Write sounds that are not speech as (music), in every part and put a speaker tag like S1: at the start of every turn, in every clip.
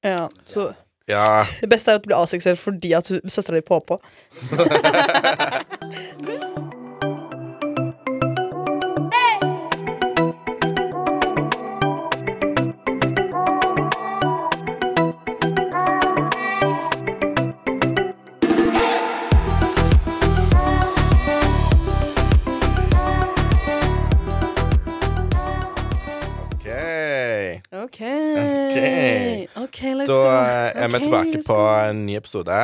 S1: Ja, så
S2: Ja.
S1: Det beste er jo at du blir aseksuell fordi at søstera di får på.
S2: OK.
S1: OK.
S2: Ok.
S1: let's
S2: Da
S1: go.
S2: eh, er vi
S1: Ok,
S2: tilbake
S1: let's
S2: på eh,
S1: go.
S2: en ny episode.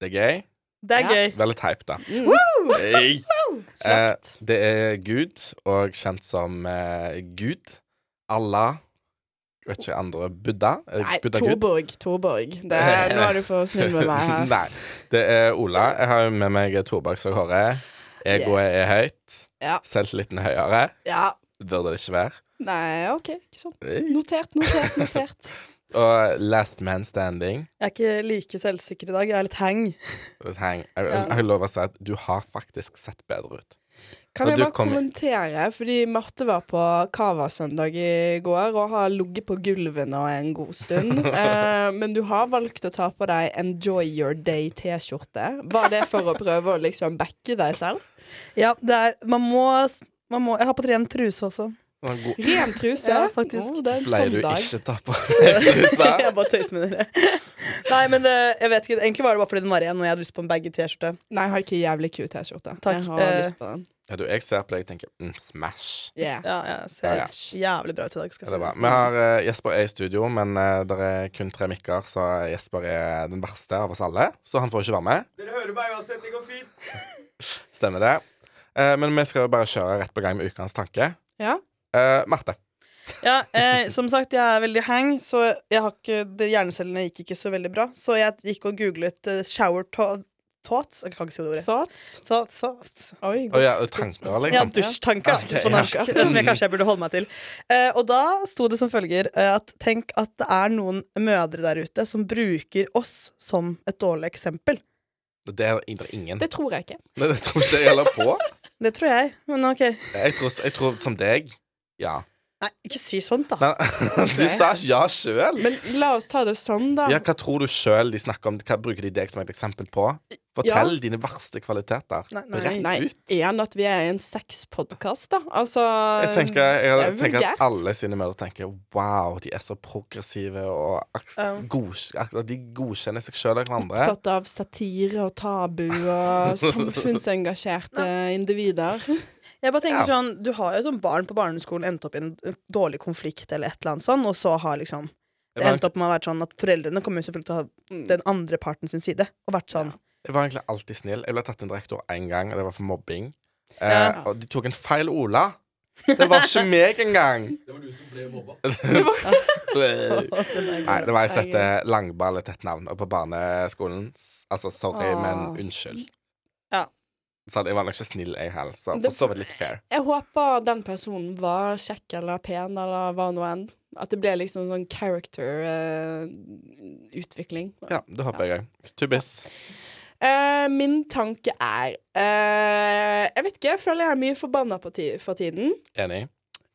S2: Det er gøy.
S1: Det er
S3: Ja.
S1: gøy.
S2: Vær litt hype, da.
S3: Mm.
S2: Hey. Eh,
S3: Slakt.
S2: det er Gud, og kjent som eh, Gud. Allah. Vet ikke andre. Buddha? Er det
S3: Nei,
S2: Eh, Buddha Gud?
S3: Torborg. Torborg.
S2: (laughs)
S3: Det er, nå er du for snill med meg her.
S2: Nei. Det er Ola. Jeg har jo med meg tobakk og håre. Egoet er høyt.
S3: Ja.
S2: Selvtilliten er høyere.
S3: Ja.
S2: Burde det ikke være.
S3: Nei, OK. Ikke sant.
S2: Nei.
S3: Notert, notert,
S2: (laughs)
S3: notert.
S2: Og last man standing.
S1: Jeg er ikke like selvsikker i dag. Jeg er litt hang.
S2: Hang. Jeg, jeg, jeg har lov å si at du har faktisk sett bedre ut.
S3: Kan
S2: Og
S3: jeg
S2: du
S3: bare
S2: kom-
S3: kommentere, fordi Marte var på Cava-søndag i går og har ligget på gulvet nå en god stund.
S2: (laughs)
S3: Eh, men du har valgt å ta på deg Enjoy Your Day-T-skjorte. Var det for å prøve å liksom backe deg selv?
S1: Ja, det er Man må, man må Jeg har på ren truse også.
S2: Sånn god-
S3: Ren truse.
S1: Ja, faktisk.
S3: Å, det er en
S2: Pleier
S3: sånn
S2: du
S3: dag.
S2: ikke ta på trusa?
S1: (laughs) jeg bare tøyser med dere. (laughs) Nei, men det, jeg vet ikke. Egentlig var det bare fordi den var ren, og jeg hadde lyst på en baggy T-skjorte.
S3: Nei, jeg har ikke jævlig kul T-skjorte.
S1: Takk,
S3: Jeg har
S1: eh,
S3: lyst på den.
S2: Ja, du, jeg ser på deg og tenker mm, smash.
S3: Yeah.
S1: Ja, jeg ser
S2: Ja,
S1: jævlig bra ut i dag. Skal
S2: Ja, det er
S1: jeg
S2: bra.
S1: si.
S2: Vi har eh, Jesper er i studio, men uh, det er kun tre mikker, så Jesper er den verste av oss alle. Så han får ikke være med.
S4: Dere hører meg uansett, det går fint.
S2: (laughs) Stemmer det. Eh, men vi skal jo bare kjøre rett på gang med ukas tanke.
S3: Ja.
S2: Eh, Marte.
S1: Ja, eh, som sagt, jeg er veldig hang, så jeg har ikke, det, hjernecellene gikk ikke så veldig bra. Så jeg gikk og googlet eh, shower tha- thoughts Jeg kan ikke si det ordet.
S3: Thoughts?
S1: Tha- Thoughts.
S3: Oi,
S2: Å
S3: god.
S2: ja, tanker,
S1: Ja,
S2: liksom.
S1: dusjtanker, da,
S2: Ok,
S1: på
S2: ja.
S1: norsk. Det som jeg kanskje jeg burde holde meg til. Eh, og da sto det som følger eh, at tenk at det er noen mødre der ute som bruker oss som et dårlig eksempel.
S2: Det er det ingen.
S3: Det tror jeg ikke.
S2: Nei, det tror ikke jeg heller på.
S1: Det tror jeg, men OK.
S2: Jeg tror, jeg tror som deg. Ja.
S1: Nei, ikke si sånt, da.
S2: Nei, du sa ja sjøl.
S3: Men la oss ta det sånn, da.
S2: Ja, hva tror du sjøl de snakker om? Hva bruker de deg som et eksempel på? Fortell dine verste kvaliteter.
S1: Nei, nei.
S2: Rett
S3: Nei,
S2: ut.
S3: igjen at vi er i en sexpodkast, da. Altså
S2: Jeg tenker, jeg,
S3: det er
S2: tenker
S3: vulgært.
S2: at alle sine mødre tenker Wow, de er så progressive og aks-
S1: Ja.
S2: gods- ak- at de godkjenner seg sjøl og hverandre.
S3: Opptatt av satire og tabu
S2: (laughs)
S3: og samfunnsengasjerte individer.
S1: Jeg bare tenker
S2: Ja.
S1: sånn, Du har jo som barn på barneskolen endt opp i en en dårlig konflikt eller et eller annet sånn, og så har liksom det
S2: Jeg var,
S1: endt opp med å være sånn at foreldrene kommer jo selvfølgelig til å ha den andre parten sin side og vært sånn. (laughs)
S2: jeg var egentlig alltid snill. Jeg ble tatt inn direktor én gang, og det var for mobbing.
S1: Ja.
S2: Eh, og de tok en feil Ola. Det var ikke meg engang!
S4: Det var du som ble mobba.
S2: (laughs) Nei, det var jeg som het Langball, et tett navn, og på barneskolen s- Altså, sorry,
S3: Åh.
S2: men unnskyld.
S1: Ja.
S2: Så jeg var nok ikke snill, jeg heller. Så
S3: Det-
S2: for så vidt litt fair.
S3: Jeg håper den personen var kjekk eller pen eller hva nå enn. At det ble liksom sånn eh, character-utvikling.
S2: Ja, det håper jeg òg. Tubis.
S3: Eh, min tanke er eh, Jeg vet ikke, jeg føler jeg er mye forbanna på ti for tiden.
S2: Enig.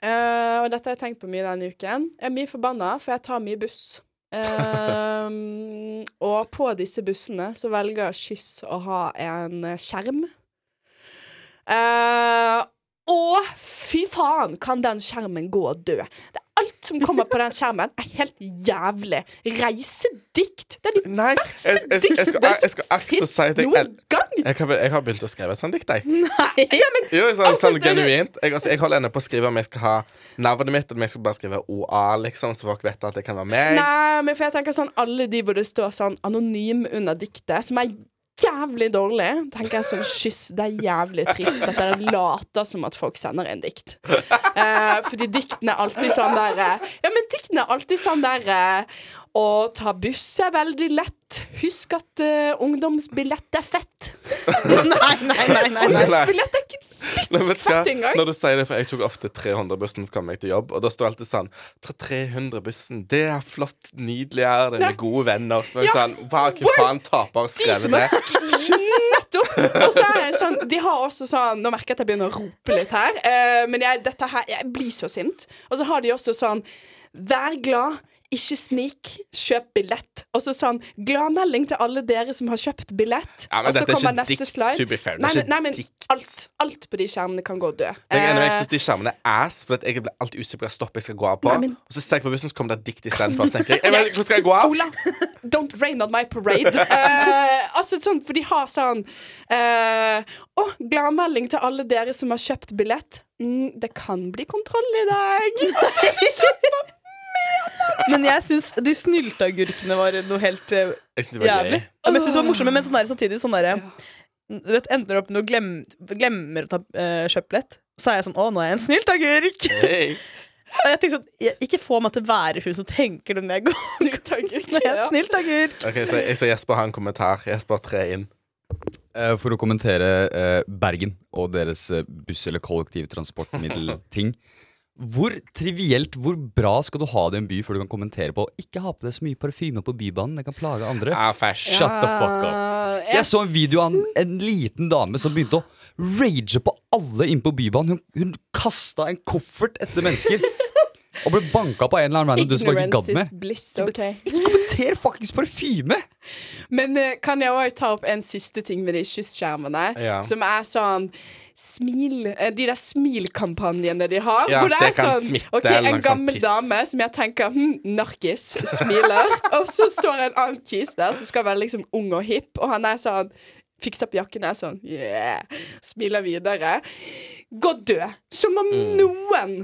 S3: Eh, og dette har jeg tenkt på mye denne uken. Jeg er mye forbanna, for jeg tar mye buss. Ehm, og på disse bussene så velger Kyss å ha en eh, skjerm. Eh, og fy faen, kan den skjermen gå og dø? Det er alt som kommer på den skjermen, er helt jævlig. Reisedikt! Det er de
S2: Nei, jeg, jeg, jeg, jeg, skal, jeg, jeg skal akte å
S3: fins
S2: si at jeg,
S3: noen
S2: el-
S3: gang!
S2: jeg, har- jeg har begynt å skrive et sånt dikt, jeg.
S1: Nei!
S2: Jo, sånn,
S3: Altså,
S2: sånn
S3: det er det-
S2: genuint. Jeg, altså, jeg holder ennå på å skrive om jeg skal ha navnet mitt, om jeg skal bare skrive OA, liksom, så folk vet at det kan være meg.
S3: Nei, men for jeg tenker sånn Alle de hvor det står sånn anonym under diktet, som er jævlig dårlig, tenker jeg sånn Kyss, det er jævlig trist at dere later som at folk sender inn dikt. Eh, fordi diktene er alltid sånn der eh, Ja, men diktene er alltid sånn der eh, Å ta buss er veldig lett. Husk at eh, ungdomsbillett er fett.
S1: (laughs) Nei, nei, nei, nei, nei.
S2: nei.
S3: Ungdomsbillett er ikke
S2: Nei, men
S3: Fett en gang.
S2: når du sier det, for jeg tok ofte 300-bussen for å komme meg til jobb, og da sto alltid sånn Ta 300-bussen, det er flott, nydelig er det, med gode venner. Så var jeg
S3: Ja.
S2: sånn Hva, hva
S3: Hvor-
S2: faen taper
S3: de
S2: skrevet
S3: som har
S2: det?
S3: skrevet Nettopp! Og så er jeg sånn De har også sånn Nå merker jeg at jeg begynner å rope litt her, eh, men jeg, dette her Jeg blir så sint. Og så har de også sånn Vær glad. Ikke snik, kjøp billett. Og så sånn Gladmelding til alle dere som har kjøpt billett.
S2: Ja, men
S3: og så
S2: dette er
S3: kommer
S2: ikke
S3: neste
S2: dikt,
S3: slide.
S2: to be fair. Det er
S3: Nei,
S2: ikke
S3: men, nei, men
S2: dikt.
S3: alt, alt på de skjermene kan gå og dø.
S2: Jeg er enig, men jeg
S3: Eh,
S2: syns de skjermene er ass, for at jeg blir alltid usikker på hvilket stopp jeg skal gå av på.
S3: Nei, men-
S2: Og så ser jeg på bussen, så kommer det et dikt istedenfor. Så tenker jeg, jeg vet ikke hvor skal jeg gå av?
S3: Ola, don't rain on my parade. Eh, altså sånn, For de har sånn eh, Å, gladmelding til alle dere som har kjøpt billett. Mm, det kan bli kontroll i dag. Altså, sånn,
S1: Men jeg syns de snylteagurkene var noe helt eh,
S2: Jeg synes det var
S1: jævlig.
S2: gøy.
S1: Ja, men jeg synes det var morsomme, men sånn der, samtidig sånn derre Du vet, ender opp med å glemme, glemmer å ta eh, kjøpt billett. Så er jeg sånn Å, nå er jeg en snylteagurk!
S2: Hey.
S1: Og jeg tenker sånn jeg, Ikke få meg til å være hun som tenker det når jeg går.
S3: snylteagurk,
S1: (laughs) Nå er jeg
S3: ja.
S1: en snylteagurk.
S2: Ok, så Jeg ser Jesper har en kommentar. Jesper, tre inn.
S5: Eh, For å kommentere eh, Bergen og deres eh, buss- eller kollektivtransportmiddel-ting. Hvor trivielt, hvor bra skal du ha det i en by før du kan kommentere på Ikke ha på deg så mye parfyme på Bybanen, det kan plage andre.
S2: Ah, fæsj.
S5: Shut the fuck up.
S3: Eh,
S5: Jeg så en video av en, en liten dame som begynte å rage på alle inne på Bybanen. Hun, hun kasta en koffert etter mennesker. Og ble banka på en eller annen random du som bare ikke
S3: Ignorance
S5: gadd
S3: is
S5: med.
S3: bliss, OK.
S5: Ikke kommenter fuckings parfyme!
S3: Men eh, kan jeg òg ta opp en siste ting med de kystskjermene,
S2: Ja.
S3: som er sånn Smil, eh, de der smilkampanjene de har.
S2: Ja,
S3: hvor det,
S2: det
S3: er
S2: kan
S3: sånn
S2: smitte
S3: ok,
S2: eller
S3: En
S2: noe sånt
S3: gammel
S2: piss.
S3: dame som jeg tenker hm, narkis,
S2: (laughs)
S3: smiler. og så står en annen kis der som skal være liksom ung og hipp, og han er sånn Fikser opp jakken er sånn yeah, Smiler videre. Gå død! Som om
S2: Mm.
S3: noen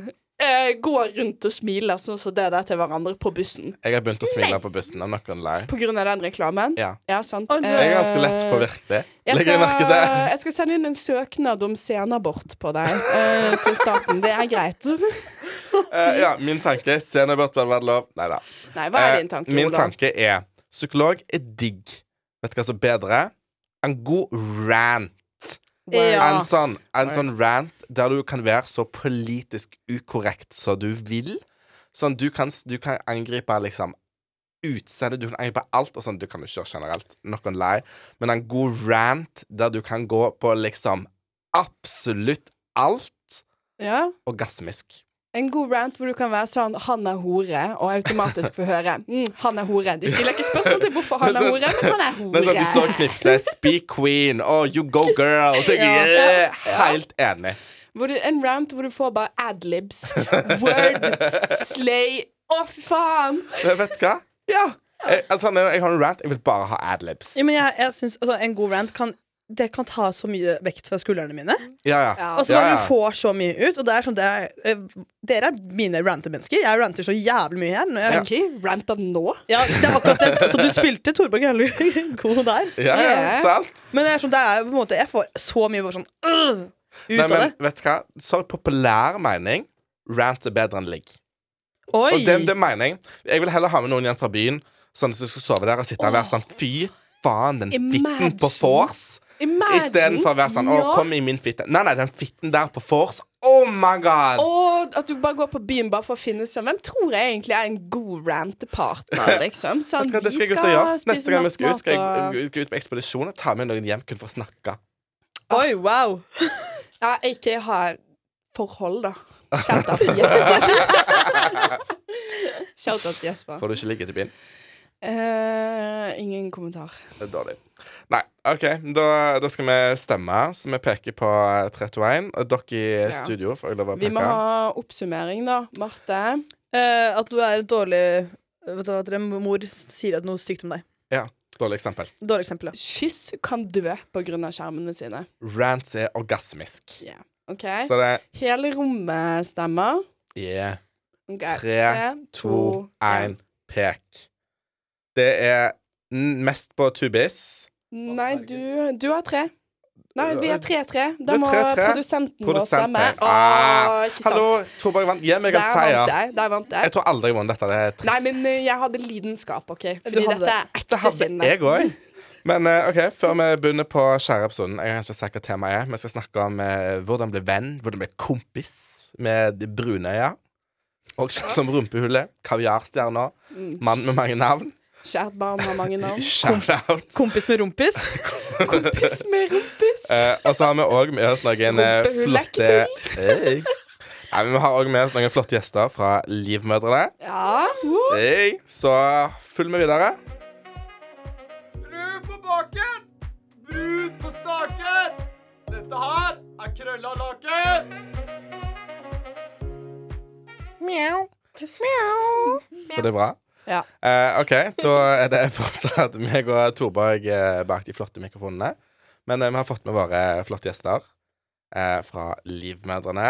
S3: eh, går rundt og smiler sånn som det der til hverandre på bussen.
S2: Jeg har begynt å smile på bussen. I'm not gonna lie.
S3: På grunn av den reklamen.
S2: Ja.
S3: Ja, sant.
S1: Å, nei.
S2: Jeg er ganske lett
S3: Eh,
S2: påvirket. det.
S3: jeg
S2: Legger jeg
S3: skal,
S2: merke til.
S3: jeg skal sende inn en søknad om senabort på deg eh, til staten. Det er greit.
S2: Eh, ja, min tanke Senabort bør være lov. Nei da.
S3: Nei, hva er
S2: Eh,
S3: din tanke,
S2: min
S3: Ola?
S2: tanke er psykolog er digg. Vet du hva som er bedre? En god rant.
S1: Ja.
S2: En, sånn, en sånn rant der du kan være så politisk ukorrekt som du vil. Sånn, du kan, du kan angripe liksom utseende, du kan angripe alt, og sånn, du kan jo kjøre generelt. Not gonna lie. Men en god rant der du kan gå på liksom absolutt alt,
S3: Ja?
S2: orgasmisk.
S3: En god rant hvor du kan være sånn 'han er hore', og automatisk få høre mm, 'han er hore'. De stiller ikke spørsmål til hvorfor han er hore, men han er
S2: Det er sånn, de står og
S3: hore.
S2: knipser. Speak queen. Oh, you go girl. Og så er jeg eh, helt enig.
S3: Hvor du, en rant hvor du får bare adlibs. Word, slay Å, fy faen!
S2: Men Vet du hva? Ja. Jeg, altså, når jeg har en rant. Jeg vil bare ha adlibs.
S1: Ja, men jeg, jeg synes, altså, en god rant kan det kan ta så mye vekt fra skuldrene mine.
S2: Ja, ja.
S3: Ja.
S1: Og så
S2: Ja,
S1: bare
S2: ja.
S1: får så mye ut. Og det er sånn, det er, eh, dere er mine rantemennesker. Jeg ranter så jævlig mye her. Når jeg,
S3: OK, ranta nå.
S1: Ja, det er akkurat det. Så du spilte Torborg jævlig god der.
S2: Ja, ja,
S3: Ja.
S2: sant?
S1: Men det er sånn, det er på en måte Jeg får så mye bare sånn øh, ut
S2: Nei,
S1: av det.
S2: men vet du hva? Sorry, populær mening. Rant er bedre enn ligg.
S1: Oi!
S2: Og det, det mener jeg. Jeg vil heller ha med noen igjen fra byen, sånn at du skal sove der og sitte og være sånn Fy faen, den fitten på
S3: Imagine.
S2: vors.
S3: Imagine!
S2: Istedenfor å være sånn Å,
S3: Ja.
S2: kom i min fitte. Nei, nei, den fitten der på vors. Oh my god!
S3: Og at du bare går på byen bare for å finne ut sånn Hvem tror jeg egentlig er en god
S2: (laughs)
S3: rantepartner, liksom? Sånn,
S2: Vet du hva, det skal jeg ut og gjøre. Neste gang vi skal ut, skal jeg gå ut på ekspedisjon og ta med noen hjem kun for å snakke.
S1: Oi, wow!
S3: Ja, ikke ha forhold,
S2: (laughs)
S3: da. Shout-out til Jesper. (laughs) Shout-out til Jesper.
S2: Får du ikke ligge til byen.
S3: Eh, ingen kommentar.
S2: Det er dårlig. Nei, OK. Da, da skal vi stemme, så vi peker på eh, 321. Og dere i
S3: Ja.
S2: studio får jeg lov å
S3: Vi
S2: peke.
S3: må ha oppsummering, da. Marte.
S1: Eh, at du er et dårlig Vet du hva, at en mor sier at noe stygt om deg.
S2: Dårlig eksempel.
S1: Dårlig eksempel, ja.
S3: Kyss kan dø på grunn av skjermene sine.
S2: Rants er orgasmisk.
S3: Ja. OK.
S2: Så det er
S3: Hele rommet stemmer.
S2: yeah,
S3: Ok.
S2: Tre, to, én, pek. Det er n- mest på tubis.
S3: Nei, du, du har tre. Nei, vi er tre-tre. Da
S2: Det er
S3: må
S2: tre-tre.
S3: produsenten vår
S2: Produsenten.
S3: stemme.
S2: Ah,
S3: Åh, ikke sant.
S2: Hallo, Torborg vant. Gi meg en
S3: Der vant
S2: seier.
S3: jeg. Der vant
S2: Jeg
S3: jeg.
S2: tror aldri jeg vant dette. Det er trist.
S3: Nei, men eh, jeg hadde lidenskap, OK? Fordi
S1: hadde
S3: dette er
S2: det
S3: ekte
S2: hadde
S3: sinne.
S2: jeg òg. Men eh, ok, før vi begynner på skjæreepisoden Jeg kan ikke si hva temaet er. Vi skal snakke om eh, hvordan bli venn, hvordan bli kompis med de brunøya.
S3: (laughs)
S2: Og som rumpehullet. Kaviarstjerna.
S3: Mm.
S2: Mann med mange navn.
S3: Kjært barn har mange
S2: (laughs)
S3: navn.
S2: Shout-out.
S1: Kompis med rumpis.
S3: Kompis med rumpis.
S2: Eh, og så har vi òg med oss noen eh,
S3: Rumpehull,
S2: flotte
S3: lekketull.
S2: Hey. Nei, men vi har òg med oss noen flotte gjester fra Livmødrene.
S3: Ja.
S2: Hey. Så følg med videre.
S4: Brud på baken! Brud på staken! Dette her er krølla laken!
S2: Så det er bra.
S3: Ja.
S2: Eh, OK, da er det fortsatt meg og Torborg eh, bak de flotte mikrofonene. Men eh, vi har fått med våre flotte gjester eh, fra Livmødrene.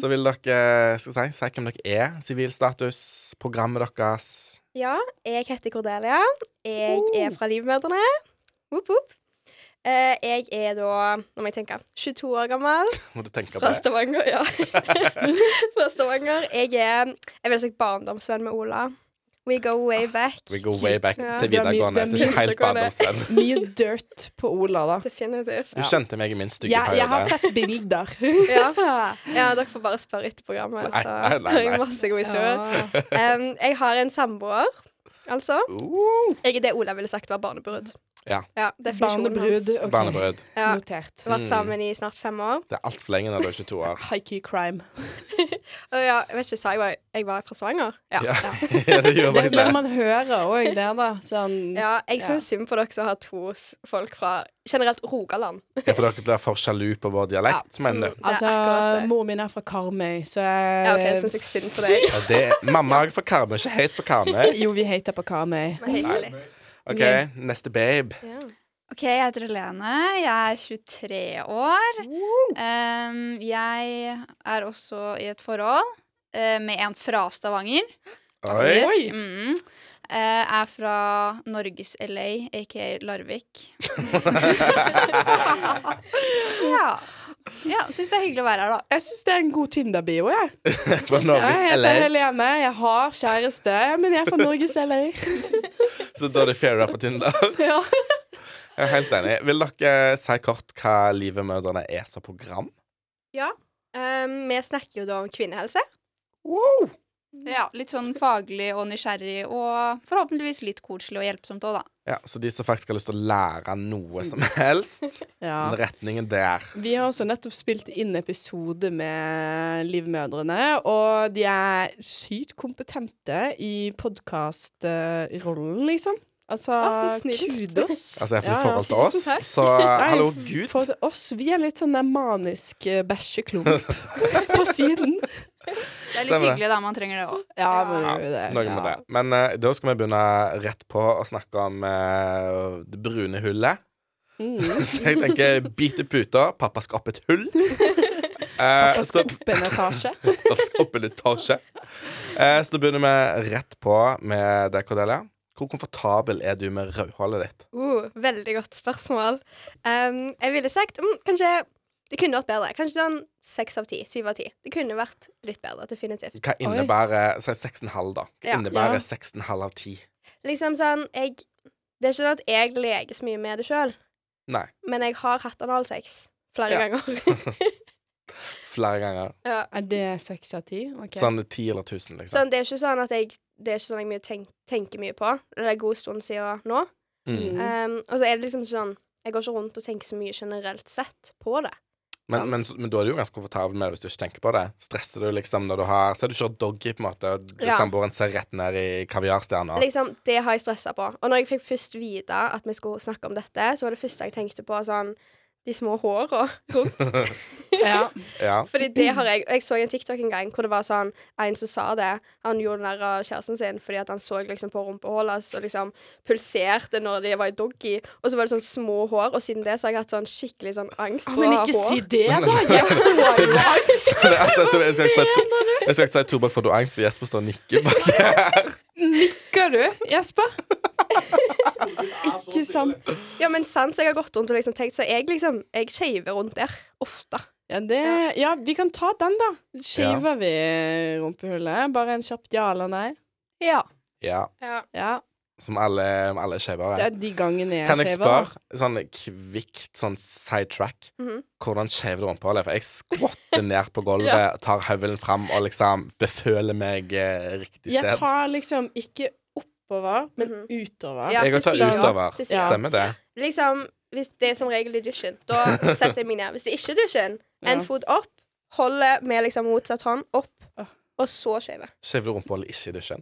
S2: Så vil dere skal jeg si, si hvem dere er, sivilstatus, programmet deres.
S6: Ja, jeg heter Cordelia. Jeg er fra Livmødrene. Woop, woop. Eh, jeg er da, nå må jeg tenke, 22 år gammel.
S2: Må du tenke på
S6: Fra
S2: det.
S6: Stavanger,
S2: (laughs)
S6: ja. fra Stavanger. Jeg er jeg vil si barndomsvenn med Ola. We go way back.
S2: Ah, We go way back
S6: Ja.
S2: til
S3: Du er mye-
S2: videregående.
S3: du
S2: Så
S3: er
S2: ikke
S6: mye
S2: helt
S6: videregående.
S2: barndomsvenn.
S3: Mye dirt på Ola, da.
S6: Definitivt.
S2: Du kjente meg i min stygge
S3: Jeg, jeg har
S2: periode.
S3: sett bilder. (laughs)
S2: (laughs)
S6: Ja. ja, dere får bare spørre etter programmet,
S2: Nei,
S6: så
S2: nei, nei,
S6: har
S2: nei.
S6: (laughs) jeg masse gode historier.
S3: Ja.
S6: Em, jeg har en samboer, altså.
S2: Uh,
S6: Jeg er det Ola ville sagt var barnebrud.
S2: Ja.
S6: ja (laughs) definisjonen
S3: Barnebrud.
S6: hans.
S3: ok.
S2: Barnebrød.
S6: Ja.
S3: Notert.
S2: Mm.
S6: Vært sammen i snart fem år.
S2: Det er altfor lenge
S3: (laughs)
S2: når du er 22 år.
S3: High-key crime.
S6: Og ja, jeg vet ikke, sa jeg var, jeg var fra Stavanger? Ja.
S2: Ja, (laughs) det gjør
S3: Det,
S2: faktisk
S3: men
S2: det.
S3: man hører òg det, da. Sånn
S6: ja jeg syns synd på dere som har to f- folk fra generelt Rogaland.
S2: Ja, for dere blir for sjalu på vår dialekt, men du.
S6: Mm, det er
S3: Altså,
S6: akkurat det.
S3: mor min er fra Karmøy, så
S6: Ja, OK, jeg syns jeg synd på deg.
S2: Ja, eh, det er, mamma er fra Karmøy, ikke hate på Karmøy.
S3: Jo, vi hater på Karmøy.
S6: Men helt litt.
S2: OK, neste babe.
S6: Ja.
S7: OK, jeg heter Helene. Jeg er 23 år. Ehm, jeg er også i et forhold eh, med en fra Stavanger.
S2: Oi. (laughs)
S7: Yes, Mm. Eh, er fra Norges LA, aka Larvik. (laughs) ja. ja Syns det er hyggelig å være her, da.
S3: Jeg syns det er en god Tinder-bio, jeg.
S2: Fra Norges
S3: Jeg
S2: LA.
S3: heter Helene, jeg har kjæreste, men
S2: (laughs)
S3: jeg er fra Norges LA.
S2: Så da er det fair up på Tinder.
S3: (laughs) Ja.
S2: Jeg er helt enig. Vil dere eh, si kort hva Livet mødrene er som program?
S6: Em, Ehm, vi snakker jo da om kvinnehelse.
S7: Ja, Litt sånn faglig og nysgjerrig, og forhåpentligvis litt koselig og hjelpsomt òg, da.
S2: Ja, Så de som faktisk har lyst til å lære noe som helst,
S3: Mm. ja.
S2: den retningen der.
S3: Vi har også nettopp spilt inn episode med Livmødrene, og de er sykt kompetente i podkastrollen, liksom. Altså,
S6: Å, så snilt.
S3: kudos.
S2: (laughs) Altså iallfall i
S3: Ja, ja.
S2: forhold til oss.
S6: tusen takk.
S3: (laughs)
S2: Så hallo,
S3: I
S2: Gud.
S3: forhold til oss, vi er litt sånn der manisk eh,
S2: (laughs)
S3: bæsjeklump på siden.
S7: Det
S2: Stemmer
S7: er litt
S2: det.
S7: hyggelig, da. Man trenger det òg.
S3: Ja, men vi gjør jo det.
S2: Noe med det. Men eh, da skal vi begynne rett på å snakke om eh, det brune hullet.
S3: Mm.
S2: (laughs) Så jeg tenker bite puta, pappa skal opp et
S3: (laughs)
S2: hull. Eh,
S3: Pappa
S2: så-
S3: skal opp en etasje.
S2: Da skal opp en etasje. Eh, så da begynner vi rett på med deg, Cordelia. Hvor komfortabel er du med rødhålet ditt?
S6: Uh, veldig godt spørsmål. Em, jeg ville sagt mm, kanskje det kunne vært bedre. Kanskje sånn seks av ti. Syv av ti. Det kunne vært litt bedre, definitivt.
S2: Hva innebærer Si 6,5, da. Hva
S6: Ja.
S2: innebærer
S3: Ja.
S2: 6,5 av 10?
S6: Liksom sånn jeg, Det er ikke sånn at jeg leker så mye med det sjøl,
S2: Nei.
S6: men jeg har hatt analsex flere
S2: Ja.
S6: ganger.
S2: Flere ganger.
S6: ja.
S3: Er det seks av ti? Ok.
S2: Sånn 10 eller 1000, liksom.
S6: Sånn, det er ikke sånn at jeg Det er ikke sånn jeg mye tenk, tenker mye på. Det er en god stund siden nå.
S2: Mm.
S3: Mm.
S6: Um, og så er det liksom sånn Jeg går ikke rundt og tenker så mye generelt sett på det.
S2: Men, men, men da er du jo ganske komfortabel med det hvis du ikke tenker på det. Stresser du liksom når du har Så du kjører doggy, på en måte, og du-
S6: Ja.
S2: samboeren ser rett ned i kaviarstjerna.
S6: Liksom, Det har jeg stressa på. Og når jeg fikk først vite at vi skulle snakke om dette, så var det første jeg tenkte på sånn de små håra rundt.
S3: Ja.
S2: Ja. (laughs)
S6: Fordi det har jeg Jeg så en TikTok en gang hvor det var sånn en som sa det. Han gjorde narr av kjæresten sin fordi at han så liksom på rumpehullet hans og liksom pulserte når de var i doggy. Og så var det sånn små hår, og siden det så har jeg hatt sånn skikkelig sånn angst
S3: Å,
S6: for
S3: Men
S6: å ha
S3: ikke si
S6: hår.
S3: det, da! Jeg
S2: (laughs)
S3: får jo angst.
S2: Så det, altså, jeg tror- jeg skal ikke si to- jeg skal ikke si Torbjørn, får du angst? For Jesper står og nikker bak (laughs)
S3: Nikker du, (laughs) Jesper? Ikke
S4: Ikke
S3: sant?
S6: Ja, men sant, så jeg har gått rundt og liksom tenkt, så jeg liksom Jeg shaver rundt der ofte.
S3: Ja, det, ja, vi kan ta den, da. Shaver vi rumpehullet? Bare en kjapp ja eller nei?
S7: Ja.
S2: Ja.
S6: Ja.
S3: Ja.
S2: Som alle, alle er skeive.
S3: Det er de gangene jeg
S2: Kan jeg
S3: shaver.
S2: spørre, sånn kvikt, sånn sidetrack,
S6: Mhm.
S2: hvordan skjever du rumpehullet? For jeg skvatter ned på
S6: (laughs)
S2: gulvet, tar høvelen fram og liksom beføler meg eh, riktig
S3: Jeg
S2: sted.
S3: tar liksom ikke oppover, men
S6: Mhm.
S3: utover.
S6: Ja,
S2: Jeg går
S6: til
S2: tar
S6: siden.
S2: utover.
S6: Til siden.
S3: Ja.
S2: Stemmer det?
S6: Liksom, hvis det er som regel i dusjen, da setter jeg meg ned. Hvis det ikke er dusjen,
S3: Ja.
S6: en fot opp, holder med liksom motsatt hånd opp,
S3: Åh.
S6: og så skøyve.
S2: Skjevler rumpeholdet ikke i dusjen.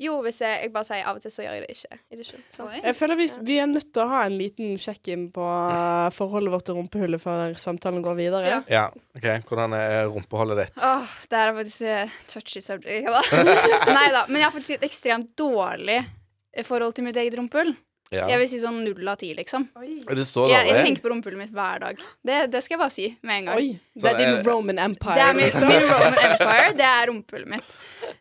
S6: Jo, hvis jeg, jeg bare sier av og til, så gjør jeg det ikke i dusjen.
S7: Oi.
S6: Sant?
S3: Jeg føler vi, vi er nødt til å ha en liten sjekk-in på eh, forholdet vårt til rumpehullet før samtalen går videre.
S6: Ja.
S2: Ja, ok, Hvordan er rumpeholdet ditt?
S7: Åh, det her er faktisk eh, touchy subject. Nei da. (laughs) Men jeg har faktisk et ekstremt dårlig eh, forhold til mitt eget rumpehull.
S2: Ja.
S7: Jeg vil si sånn null av ti, liksom.
S2: Er det så
S7: Jeg, jeg
S2: dårlig?
S7: tenker på rumpehullet mitt hver dag. Det, det skal jeg bare si med en gang.
S3: Oi,
S2: Så
S3: det er din
S2: er-
S3: Roman Empire.
S7: Det
S3: (laughs)
S7: er min,
S3: liksom.
S7: min (laughs) Roman Empire. Det er rumpehullet mitt.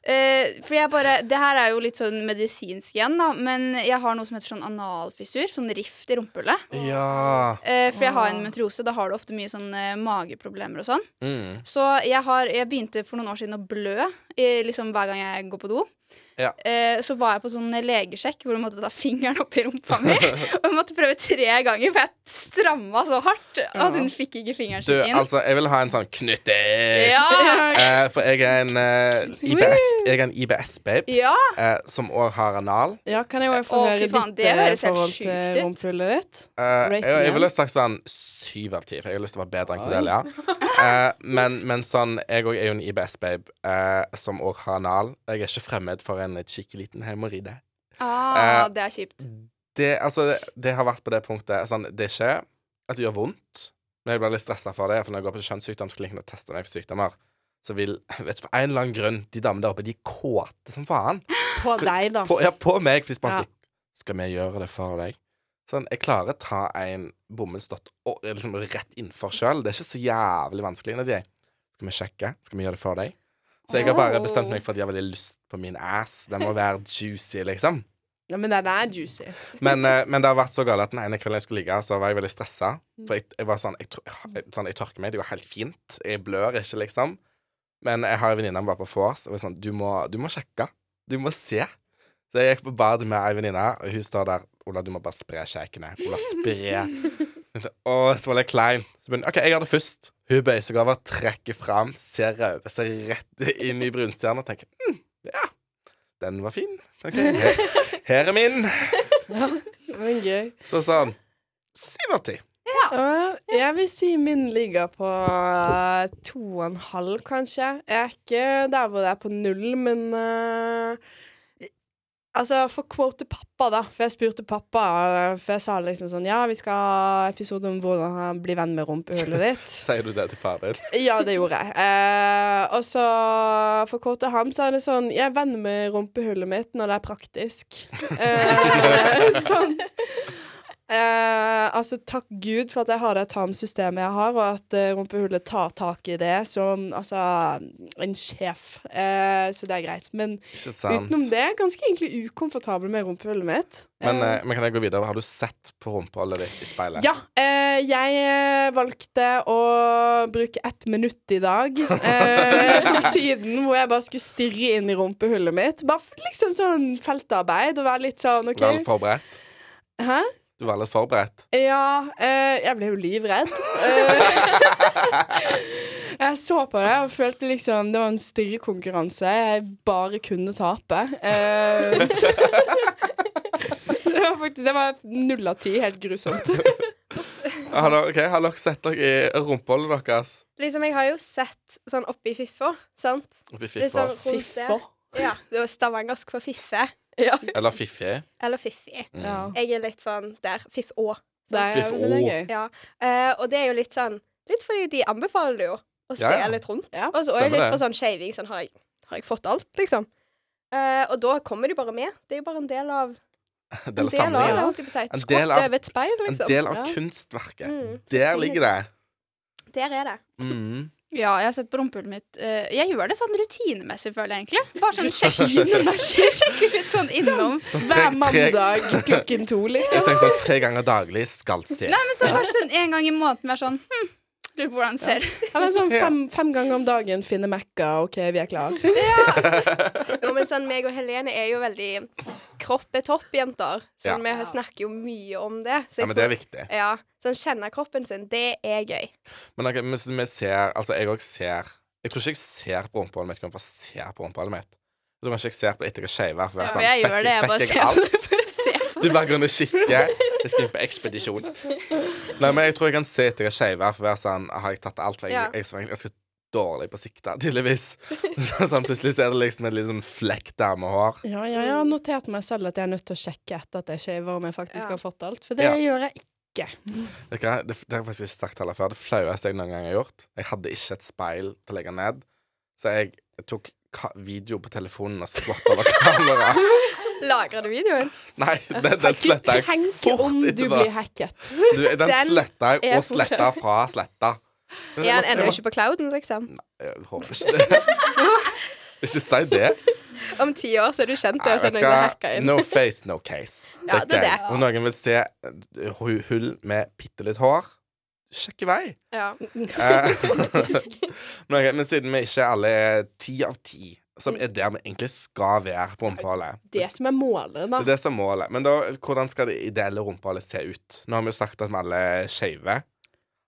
S7: Eh, for jeg bare Det her er jo litt sånn medisinsk igjen, da, men jeg har noe som heter sånn analfissur. Sånn rift i rumpehullet.
S2: Ja.
S7: Eh, for jeg har en metriose. Da har du ofte mye sånn eh, mageproblemer og sånn.
S2: Mm.
S7: Så jeg, har, jeg begynte for noen år siden å blø eh, liksom hver gang jeg går på do.
S2: Ja.
S7: Eh, så var jeg på sånn legesjekk hvor du måtte ta fingeren opp i rumpa
S2: (laughs)
S7: mi. og jeg måtte prøve tre ganger, for jeg stramma så hardt at hun fikk ikke fingeren
S2: Du,
S7: sin inn.
S2: altså, jeg vil ha en sånn knyttis.
S7: Ja.
S2: Eh, for jeg er en eh, IBS, jeg er en IBS-babe
S7: ja!
S2: eh, som òg har anal.
S3: Ja, kan jeg jo få
S7: Å, fy
S3: høre
S7: faen,
S3: ditt
S7: det
S3: eh,
S7: høres helt
S3: forhold
S7: sjukt
S3: til
S7: ut.
S3: rumpehullet ditt?
S2: Eh, jeg,
S3: Rating
S2: jeg
S3: igjen.
S2: ville sagt sånn syv av ti, for jeg har lyst til å være bedre enn Cordelia. Eh, men, men sånn, jeg òg er jo en IBS-babe eh, som òg har anal. Jeg er ikke fremmed for en kikkelig liten hemoride.
S7: Ah,
S2: Eh,
S7: det er kjipt.
S2: Det, altså, det, det har vært på det punktet sånn, Det er ikke at det gjør vondt, men jeg blir litt stressa for det. For når jeg går på kjønnssykdomsklinikken og tester meg for sykdommer, så vil vet, du, For en eller annen grunn, de damene der oppe, de er kåte som faen.
S3: På deg, da.
S2: På, ja, på meg. For de spør
S3: Ja.
S2: alltid Skal vi gjøre det for deg? Sånn, jeg klarer å ta en bomullsdott og- liksom, rett innenfor sjøl. Det er ikke så jævlig vanskelig. Når de er Skal vi sjekke? Skal vi gjøre det for deg? Så jeg har bare
S7: Oh.
S2: bestemt meg for at de har veldig lyst på min ass. Den må være juicy, liksom.
S3: Ja, men den er juicy.
S2: Men, eh, men det har vært så galt at den ene kvelden jeg skulle ligge, så var jeg veldig stressa. For jeg, jeg var sånn jeg, tro- jeg, sånn jeg tørker meg, det går helt fint. Jeg blør ikke, liksom. Men jeg har en venninne som var på vors, og jeg var sånn du må, du må sjekke. Du må se. Så jeg gikk på badet med ei venninne, og hun står der. Ola, du må bare spre kjekene. Ola, spre. Jeg tenkte, Å, dette var litt klein. Så begynner, OK, jeg gjør det først. Hun bøyer seg over, trekker fram, ser rød, ser rett inn i brunstjerna og tenker hm, ja, den var fin. OK, her, her er min.
S3: Men gøy.
S2: Så sa han syv av ti.
S3: Øh, jeg vil si min ligger på øh, to og en halv, kanskje. Jeg er ikke der hvor det er på null, men øh, Altså, for quote pappa, da. For jeg spurte pappa, øh, for jeg sa liksom sånn Ja, vi skal ha episode om hvordan han blir venn med rumpehullet ditt.
S2: Sier du det til far din? (laughs)
S3: Ja, det gjorde jeg. Eh, og så for kort og han så er det sånn Jeg er venn med rumpehullet mitt når det er praktisk. Eh, (laughs) sånn. Eh, altså, takk Gud for at jeg har det tarmsystemet jeg har, og at eh, rumpehullet tar tak i det som altså en sjef. Eh, så det er greit. Men
S2: Ikke sant?
S3: utenom det, ganske egentlig ukomfortabel med rumpehullet mitt.
S2: Men,
S3: Eh,
S2: eh, men kan jeg gå videre? Har du sett på rumpeholdet ditt i speilet?
S3: ja, eh, jeg eh, valgte å bruke ett minutt i dag. Eh,
S2: (laughs)
S3: jeg tok tiden hvor jeg bare skulle stirre inn i rumpehullet mitt. Bare f- liksom sånn feltarbeid og være litt sånn OK.
S2: Vel forberedt?
S3: Hæ?
S2: Du var litt
S3: (laughs)
S2: forberedt?
S3: Ja, eh, jeg ble jo livredd. Eh, (laughs) jeg så på det og følte liksom det var en stirrekonkurranse jeg bare kunne tape. Eh, så det var faktisk det var null av ti. Helt grusomt.
S2: Har dere, ok, har dere sett dere i rumpeholdet deres?
S6: Liksom, jeg har jo sett sånn oppi Fiffå, sant?
S2: Oppi
S6: Litt sånn
S2: fiffa?
S6: rundt der.
S3: Fiffer.
S6: Ja, (laughs) det var stavangersk for fisse.
S2: Eller fiffi?
S6: Eller fiffi.
S2: Mm.
S3: Ja.
S6: Jeg er litt sånn der. Fiff-å.
S3: Det er,
S2: Fiffe
S3: men det er
S2: år.
S3: gøy.
S6: Ja. Eh, og det er jo litt sånn Litt fordi de anbefaler det jo å
S2: Ja, ja.
S6: se litt rundt.
S3: Ja,
S6: og så er
S2: stemmer
S6: jeg litt
S2: det.
S6: for sånn shaving. Sånn, har jeg, har jeg fått alt, liksom? Eh, og da kommer de bare med. Det er jo bare en del av
S2: En
S6: En
S2: (laughs) del av
S6: del av det,
S2: samlingen.
S6: holdt jeg på å si.
S2: En
S6: Et
S2: del
S6: skott
S2: av-
S6: over et speil,
S2: En
S6: liksom.
S2: del av
S3: Ja.
S2: kunstverket.
S6: Mm.
S2: Der ligger det.
S6: Der er det.
S2: Mm.
S7: Ja, jeg har sett på rumpehullet mitt. Eh, jeg gjør det sånn rutinemessig, føler jeg egentlig. Bare
S2: (laughs)
S7: sånn sjekker, sjekker litt sånn innom.
S2: Sånn tre,
S3: Hver
S2: tre,
S3: mandag klokken to, liksom.
S2: jeg tenker sånn tre ganger daglig skal se.
S7: Nei, men så kanskje sånn en gang i måneden være sånn hm, lurer på hvordan det ser ut.
S3: Eller sånn fem, fem ganger om dagen finne Mekka, OK, vi er klar.
S6: Jo, men sånn, meg og Helene er jo veldig kropp er topp-jenter. Sånn, Vi snakker jo mye om det. Så
S2: Ja,
S6: jeg
S2: men det er viktig.
S6: tror, ja, sånn kjenne kroppen sin, det er gøy.
S2: Men ok, men så vi ser Altså, jeg òg ser Jeg tror ikke jeg ser på rumpehullet mitt. Jeg kan bare se på rumpehullet mitt. Jeg tror kanskje jeg ser på etter jeg shaver. For å være sånn,
S7: jeg gjør
S2: fuck
S7: det. Jeg bare
S2: fuck
S7: ser
S2: alt.
S7: på det for å se
S2: Du
S7: på det.
S2: bare går ned og kikker.
S7: (laughs)
S2: Jeg skal inn på ekspedisjon. Nei, men jeg tror jeg kan se etter jeg er skeiv her, for å være sånn Har jeg tatt alt? For Jeg,
S6: Ja.
S2: jeg, jeg, skal dårlig på sikta, tydeligvis. (laughs) Så sånn, plutselig så er det liksom en liten sånn flekk der med hår.
S3: Ja, ja, jeg har notert meg selv at jeg er nødt til å sjekke etter at jeg shaver om jeg faktisk
S6: Ja.
S3: har fått alt. For det
S2: Ja.
S3: gjør jeg ikke.
S2: Vet du hva? Det, det har jeg faktisk ikke sagt heller før. Det flaueste jeg noen gang har gjort. Jeg hadde ikke et speil til å legge ned, så jeg tok ka- video på telefonen og skvatt over
S6: (laughs)
S2: kameraet.
S6: Lagrer du videoen?
S2: Nei, den, den sletta jeg.
S3: Tenk
S2: fort
S3: om du
S2: etterpå.
S3: blir hacket.
S2: Du, den
S6: Den
S2: sletta jeg,
S6: er
S2: og sletta fra sletta.
S6: Er han ennå ikke på clouden, liksom?
S2: Jeg håper
S6: (laughs)
S2: ikke det. Ikke si det.
S6: Om ti år så er du kjent det,
S2: Nei,
S6: og så er
S2: vet
S6: det
S2: du
S6: sånn noen som
S2: hva?
S6: hacker inn.
S2: No face, no case.
S6: Ja, det er
S2: Tenker jeg.
S6: det.
S2: Om noen vil se eh, hu- hull med bitte litt hår, sjekk i vei.
S6: Ja.
S2: Eh, (laughs) men, men siden vi ikke alle er ti av ti, som er der vi egentlig skal være på rumpehullet
S3: Det som er målet, da.
S2: Det er det som er målet. Men da, hvordan skal det ideelle rumpehullet se ut? Nå har vi jo sagt at vi alle er skeive.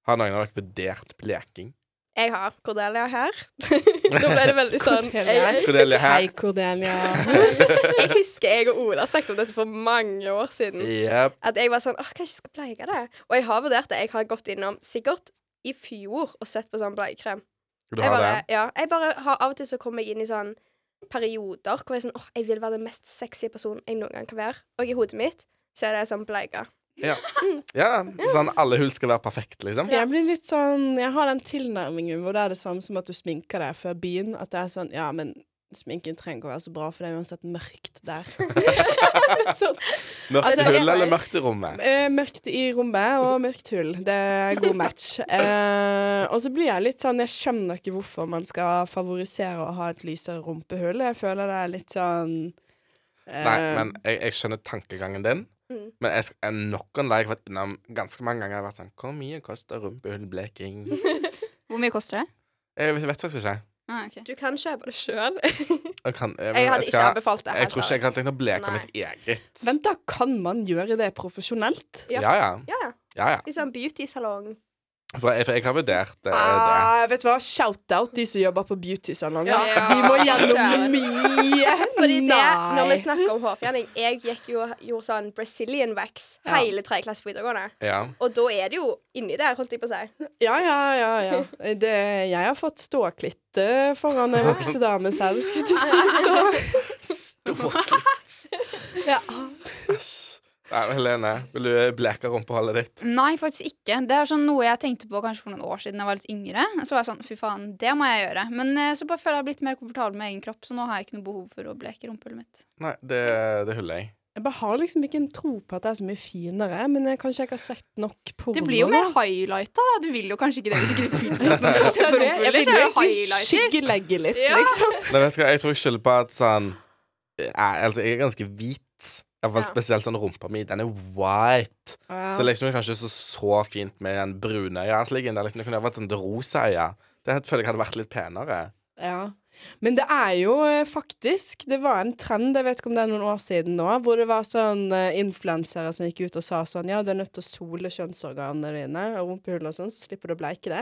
S2: Har noen av dere vurdert bleking?
S6: Jeg har Cordelia her. (laughs) Nå ble det (laughs) veldig sånn
S3: Cordelia.
S6: jeg,
S2: Cordelia
S3: Hei,
S2: her.
S3: Cordelia.
S6: jeg husker jeg og Ola snakket om dette for mange år siden.
S2: Yep.
S6: At jeg var sånn Åh, kanskje jeg skal bleike det? Og jeg har vurdert det. Jeg har gått innom sikkert i fjor og sett på sånn bleiekrem.
S2: Du
S6: Jeg
S2: har
S6: bare,
S2: det?
S6: ja, jeg bare har av og til så kommer jeg inn i sånn perioder hvor jeg er sånn åh, jeg vil være den mest sexy personen jeg noen gang kan være. Og i hodet mitt så er det sånn bleika.
S2: Ja. ja. Sånn alle hull skal være perfekte, liksom?
S3: Jeg blir litt sånn Jeg har den tilnærmingen hvor det er det samme som at du sminker deg før byen. At det er sånn Ja, men sminken trenger ikke å være så bra, for det er uansett mørkt der. (laughs) Litt sånn.
S2: Mørkt
S3: Altså,
S2: i hullet
S3: jeg-
S2: eller mørkt i rommet?
S3: Eh, mørkt i rommet og mørkt hull. Det er god match. Eh, og så blir jeg litt sånn Jeg skjønner ikke hvorfor man skal favorisere å ha et lysere rumpehull. Jeg føler det er litt sånn eh,
S2: Nei, men jeg, jeg skjønner tankegangen din.
S6: Mm.
S2: Men jeg, sk- jeg nok en dag har vært innom ganske mange ganger og vært sånn Hvor mye koster rumpehullbleking?
S7: Hvor mye koster det?
S2: Jeg Eh, vet vet faktisk ikke.
S7: Ah, ok.
S6: Du kan kjøpe det sjøl.
S2: Jeg, kan, eh, jeg,
S6: Jeg hadde ikke
S2: skal-
S6: anbefalt det.
S2: jeg tror ikke jeg hadde tenkt å bleke
S6: Nei.
S2: mitt eget.
S3: Vent, da kan man gjøre det profesjonelt?
S6: Ja.
S2: Ja, ja.
S6: Ja, ja.
S2: ja, ja.
S6: Litt sånn
S3: (laughs)
S6: beauty-salong.
S2: For, jeg, for jeg har vurdert eh, det. det.
S3: Ah, vet du hva? Shout-out de som jobber på beauty-salong.
S6: Ja.
S3: ass. De må gjennom mye.
S6: Fordi det,
S3: Nei.
S6: når vi snakker om hårfjerning Jeg gikk jo og gjorde sånn Brazilian wax
S3: Ja.
S6: hele tredje klasse på videregående.
S2: Ja.
S6: Og da er det jo inni der, holdt jeg på å
S2: Ah,
S6: si.
S3: Ja, ja, ja. ja. Det, jeg har fått ståklitt eh, foran
S2: (laughs)
S3: en voksen dame selv, skulle jeg til å si. Så
S2: Stort.
S3: ja.
S2: Æsj. Nei, men Helene, vil du eh, bleke rumpehullet ditt?
S7: Nei, faktisk ikke. Det er sånn noe jeg tenkte på kanskje for noen år siden jeg var litt yngre. Så var jeg sånn, fy faen, det må jeg gjøre. Men eh, så bare føler jeg blitt mer komfortabel med egen kropp, så nå har jeg ikke noe behov for å bleke rumpehullet mitt.
S2: Nei, det, det huller jeg.
S3: Jeg bare har liksom ikke en tro på at det er så mye finere, men jeg kanskje jeg ikke har sett nok porno.
S7: Det blir jo
S3: da.
S7: mer highlighta, da. Du vil jo kanskje ikke det hvis ikke du
S3: (laughs)
S7: vil at man skal (laughs) se på
S3: Jeg
S7: rumpehullet.
S3: vil jo
S7: Så er
S3: egentlig
S7: det liksom. highlighter.
S3: skyggelegge litt,
S7: Ja.
S3: liksom.
S2: Nei, vet du hva, jeg tror jeg skylder på at sånn jeg, Altså, jeg er ganske hvit. I hvert fall
S6: Ja.
S2: spesielt sånn rumpa mi. Den er white.
S3: Ja.
S2: Så liksom det er kanskje så, så fint med den brune øyesliggen. Det, liksom, det kunne vært sånn det rosa øye. Det her føler jeg hadde vært litt penere.
S3: Ja. Men det er jo eh, faktisk Det var en trend, jeg vet ikke om det er noen år siden nå, hvor det var sånn eh, influensere som gikk ut og sa sånn Ja, du er nødt til å sole kjønnsorganene dine og rumpehull og sånn, så slipper du å bleike det.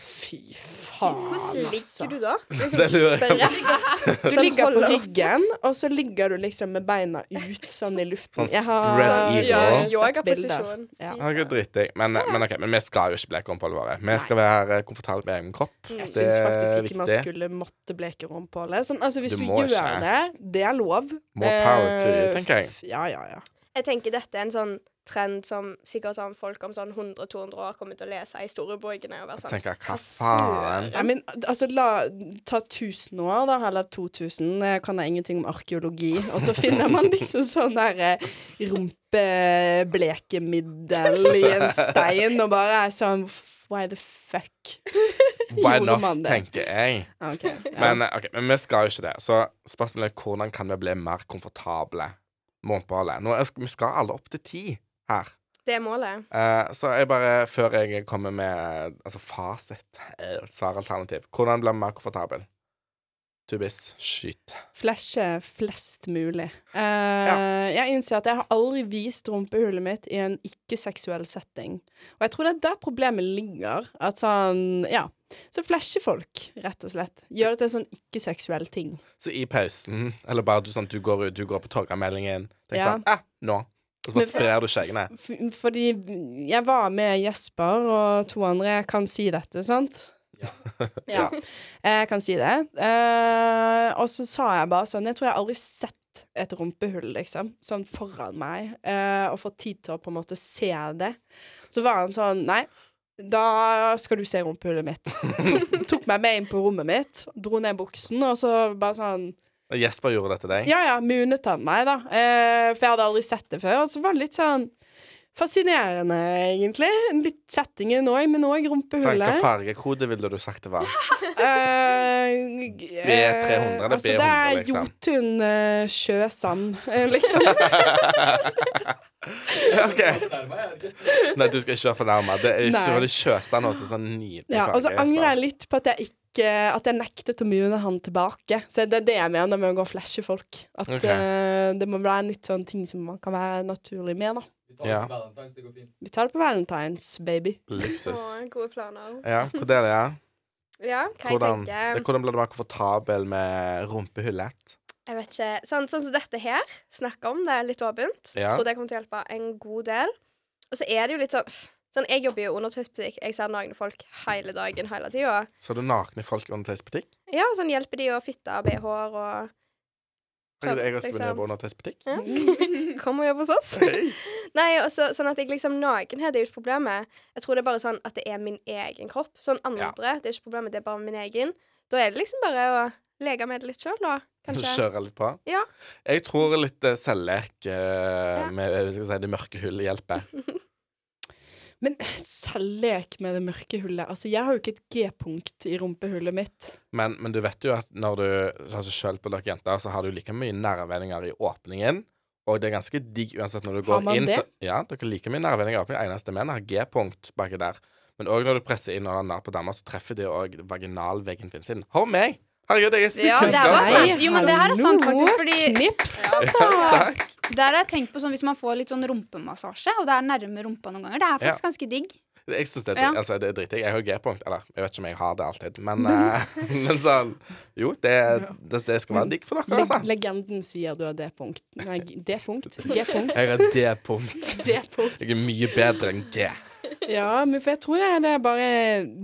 S3: Fy faen,
S6: Hvordan
S3: altså.
S6: ligger du da? Liksom,
S2: (laughs) Det lurer jeg
S6: spredt.
S3: Du
S6: Sånn
S3: ligger på
S6: holder opp.
S3: ryggen, og så ligger du liksom med beina ut sånn i luften.
S2: Sånn
S3: Jeg har
S2: spread eagle.
S6: Ja,
S2: Ja,
S3: sett bilder.
S6: yogaposisjon.
S3: Ja.
S2: Ja, det er dritdigg. Men, men ok, men vi skal jo ikke bleke rumpehullet vårt. Vi skal være eh, komfortable med egen kropp.
S6: Mm.
S3: Jeg
S2: Det
S3: syns
S2: er
S3: faktisk ikke man
S2: viktig.
S3: skulle måtte bleke rumpehullet. Sånn, altså, hvis
S2: Du
S3: du,
S2: må
S3: gjør
S2: ikke.
S3: det, det er lov.
S2: More power to you,
S3: Eh,
S2: tenker jeg.
S3: f- Ja, ja, ja.
S6: Jeg tenker dette er en sånn trend som sikkert sånn folk om sånn 100-200 år kommer til å lese i historiebøkene og være sånn
S2: Tenker, hva
S6: søren?
S2: faen?
S3: Nei, men altså, la, ta 1000 år, da, eller 2000. Jeg kan da ingenting om arkeologi. Og så finner man
S2: (laughs)
S3: liksom sånn der eh, rumpeblekemiddel i en stein, og bare er sånn Why the fuck?
S2: Why
S3: Gjorde
S2: not,
S3: man det?
S2: tenker jeg.
S3: Ok, ja.
S2: Men, eh, ok, men vi skal jo ikke det. Så spørsmålet er hvordan kan vi bli mer komfortable med rumpehullet? Nå er- Vi skal alle opp til ti her.
S6: Det er målet.
S2: Eh, så jeg bare, før jeg kommer med altså fasit, eh, svaralternativ Hvordan bli mer komfortabel? Tubis, skyt.
S3: Flashe flest mulig. Eh, Jeg innser at jeg har aldri vist rumpehullet mitt i en ikke-seksuell setting. Og jeg tror det er der problemet ligger. At sånn, ja. Så flashe folk, rett og slett. Gjør det til en sånn ikke-seksuell ting.
S2: Så i pausen, eller bare du, sånn, du, går, ut, du går på Torgallmeldingen Tenk
S3: Ja.
S2: sånn eh, Nå. Og så bare
S3: Men for-
S2: sprer du skjeggene.
S3: F fordi jeg var med Jesper og to andre, jeg kan si dette, sant? Ja. Jeg kan si det. Eh, og så sa jeg bare sånn Jeg tror jeg aldri har sett et rumpehull, liksom, sånn foran meg, eh, og fått tid til å på en måte se det. Så var han sånn Nei, da skal du se rumpehullet mitt. Tok, tok meg med inn på rommet mitt, dro ned buksen, og så bare sånn
S2: Og Jesper gjorde det til deg.
S3: ja, ja, munet han meg, da. Eh, for jeg hadde aldri sett det før. Og så var det litt sånn fascinerende, egentlig. Litt settingen òg, men
S2: Sånn,
S3: òg
S2: hva
S3: rumpehullet.
S2: fargekode ville du sagt det var? (laughs)
S3: Eh,
S2: B300 eller B100,
S3: altså, Det er
S2: liksom.
S3: Jotun eh, Sjøsand,
S2: (laughs)
S3: eh, liksom.
S2: OK. Nei, du skal ikke være fornærma. Det er
S3: Nei.
S2: ikke veldig sjøsand også. Sånn nydelig
S3: ja, og så
S2: farge,
S3: angrer jeg
S2: Jesper.
S3: litt på at jeg ikke At jeg nektet å mune han tilbake. Så det er det jeg mener med å gå og flashe folk. At
S2: Ok.
S3: eh, det må være litt sånn ting som man kan være naturlig med, da.
S2: Ja.
S3: Vi tar det på Valentine's, baby.
S2: Luksus.
S6: Å, gode planer.
S2: Ja, hvordan er det? Ja?
S6: Ja, hva
S2: Hvordan,
S6: jeg tenker
S2: hvordan ble du mer komfortabel med rumpehullet?
S6: Jeg vet ikke, sånn, sånn som dette her, snakke om det er litt åpent.
S2: Ja.
S6: Tror det kommer til å hjelpe en god del. Og så er det jo litt sånn pff, Sånn, Jeg jobber jo under tøysbutikk. Jeg ser nagne folk hele dagen, hele tida.
S2: Så du nakne folk under tøysbutikk?
S6: Ja, sånn hjelper de å fitte av BH-er og
S2: Jeg jeg har skrevet
S6: Liksom.
S2: ned på under tøysbutikk.
S6: ja. Kom og jobb hos oss. Nei, og så, sånn at jeg liksom Nakenhet er jo ikke problemet. Jeg tror det er bare sånn at det er min egen kropp. Sånn andre, det er ikke problemet, det er bare min egen. Da er det liksom bare å leke med det litt sjøl, da. Kanskje.
S2: Kjøre litt på.
S6: Ja.
S2: Jeg tror litt uh, selvlek eh, med hva skal jeg si, det mørke hullet hjelper.
S3: Men selvlek med det mørke hullet. Altså, jeg har jo ikke et G-punkt i rumpehullet mitt.
S2: Men, men du vet jo at når du altså Selv på dere jenter så har du like mye nervevendinger i åpningen. Og det er ganske digg uansett når du
S3: Har
S2: går
S3: man
S2: inn.
S3: det?
S2: Så, ja, dere har like mye nervevendinger i åpningen. Eneste menn har G-punkt baki der. Men òg når du presser inn og nær på dama, så treffer det òg vaginalveggen sin. sin. Hør meg! Herregud, jeg er
S7: Ja, det er
S2: kunnskapsrik.
S7: bare- jo, men det her er sant,
S3: hallo,
S7: faktisk, fordi-
S3: Knips,
S7: Ja.
S3: altså!
S2: (laughs) Takk.
S7: Der har jeg tenkt på sånn Hvis man får litt sånn rumpemassasje, og det er nærme rumpa noen ganger, det er faktisk ganske digg.
S2: Jeg synes det er,
S7: Ja.
S2: drit- altså, det er drittig. Jeg har G-punkt. Eller, jeg vet ikke om jeg har det alltid, men, eh, (laughs) men sånn Jo, det, det, det skal være digg for dere,
S3: Leg
S2: altså.
S3: legenden sier du har D-punkt. Nei, G- D-punkt? G-punkt?
S2: Jeg har D-punkt.
S3: (laughs) D-punkt.
S2: Jeg er mye bedre enn G.
S3: Ja, men for jeg tror det er det er bare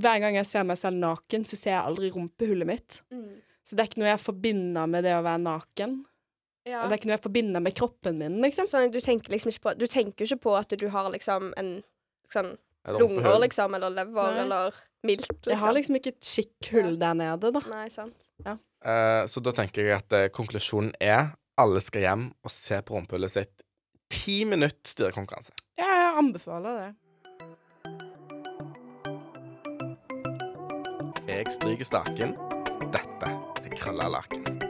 S3: Hver gang jeg ser meg selv naken, så ser jeg aldri rumpehullet mitt.
S6: Mm.
S3: Så det er ikke noe jeg forbinder med det å være naken.
S6: Ja.
S3: Og det er ikke noe jeg forbinder med kroppen min, liksom.
S6: Sånn, du tenker liksom ikke på Du tenker ikke på at du har liksom en sånn
S2: Et
S6: lunger,
S2: rumpehull.
S6: liksom, eller lever,
S3: Nei.
S6: eller milt, liksom.
S3: Jeg har liksom ikke et skikkhull der nede, da.
S6: Nei, sant.
S2: Eh, så da tenker jeg at eh, konklusjonen er alle skal hjem og se på rumpehullet sitt. Ti minutt styrekonkurranse.
S3: Jeg anbefaler det.
S2: Jeg stryker staken. Dette er krølla laken.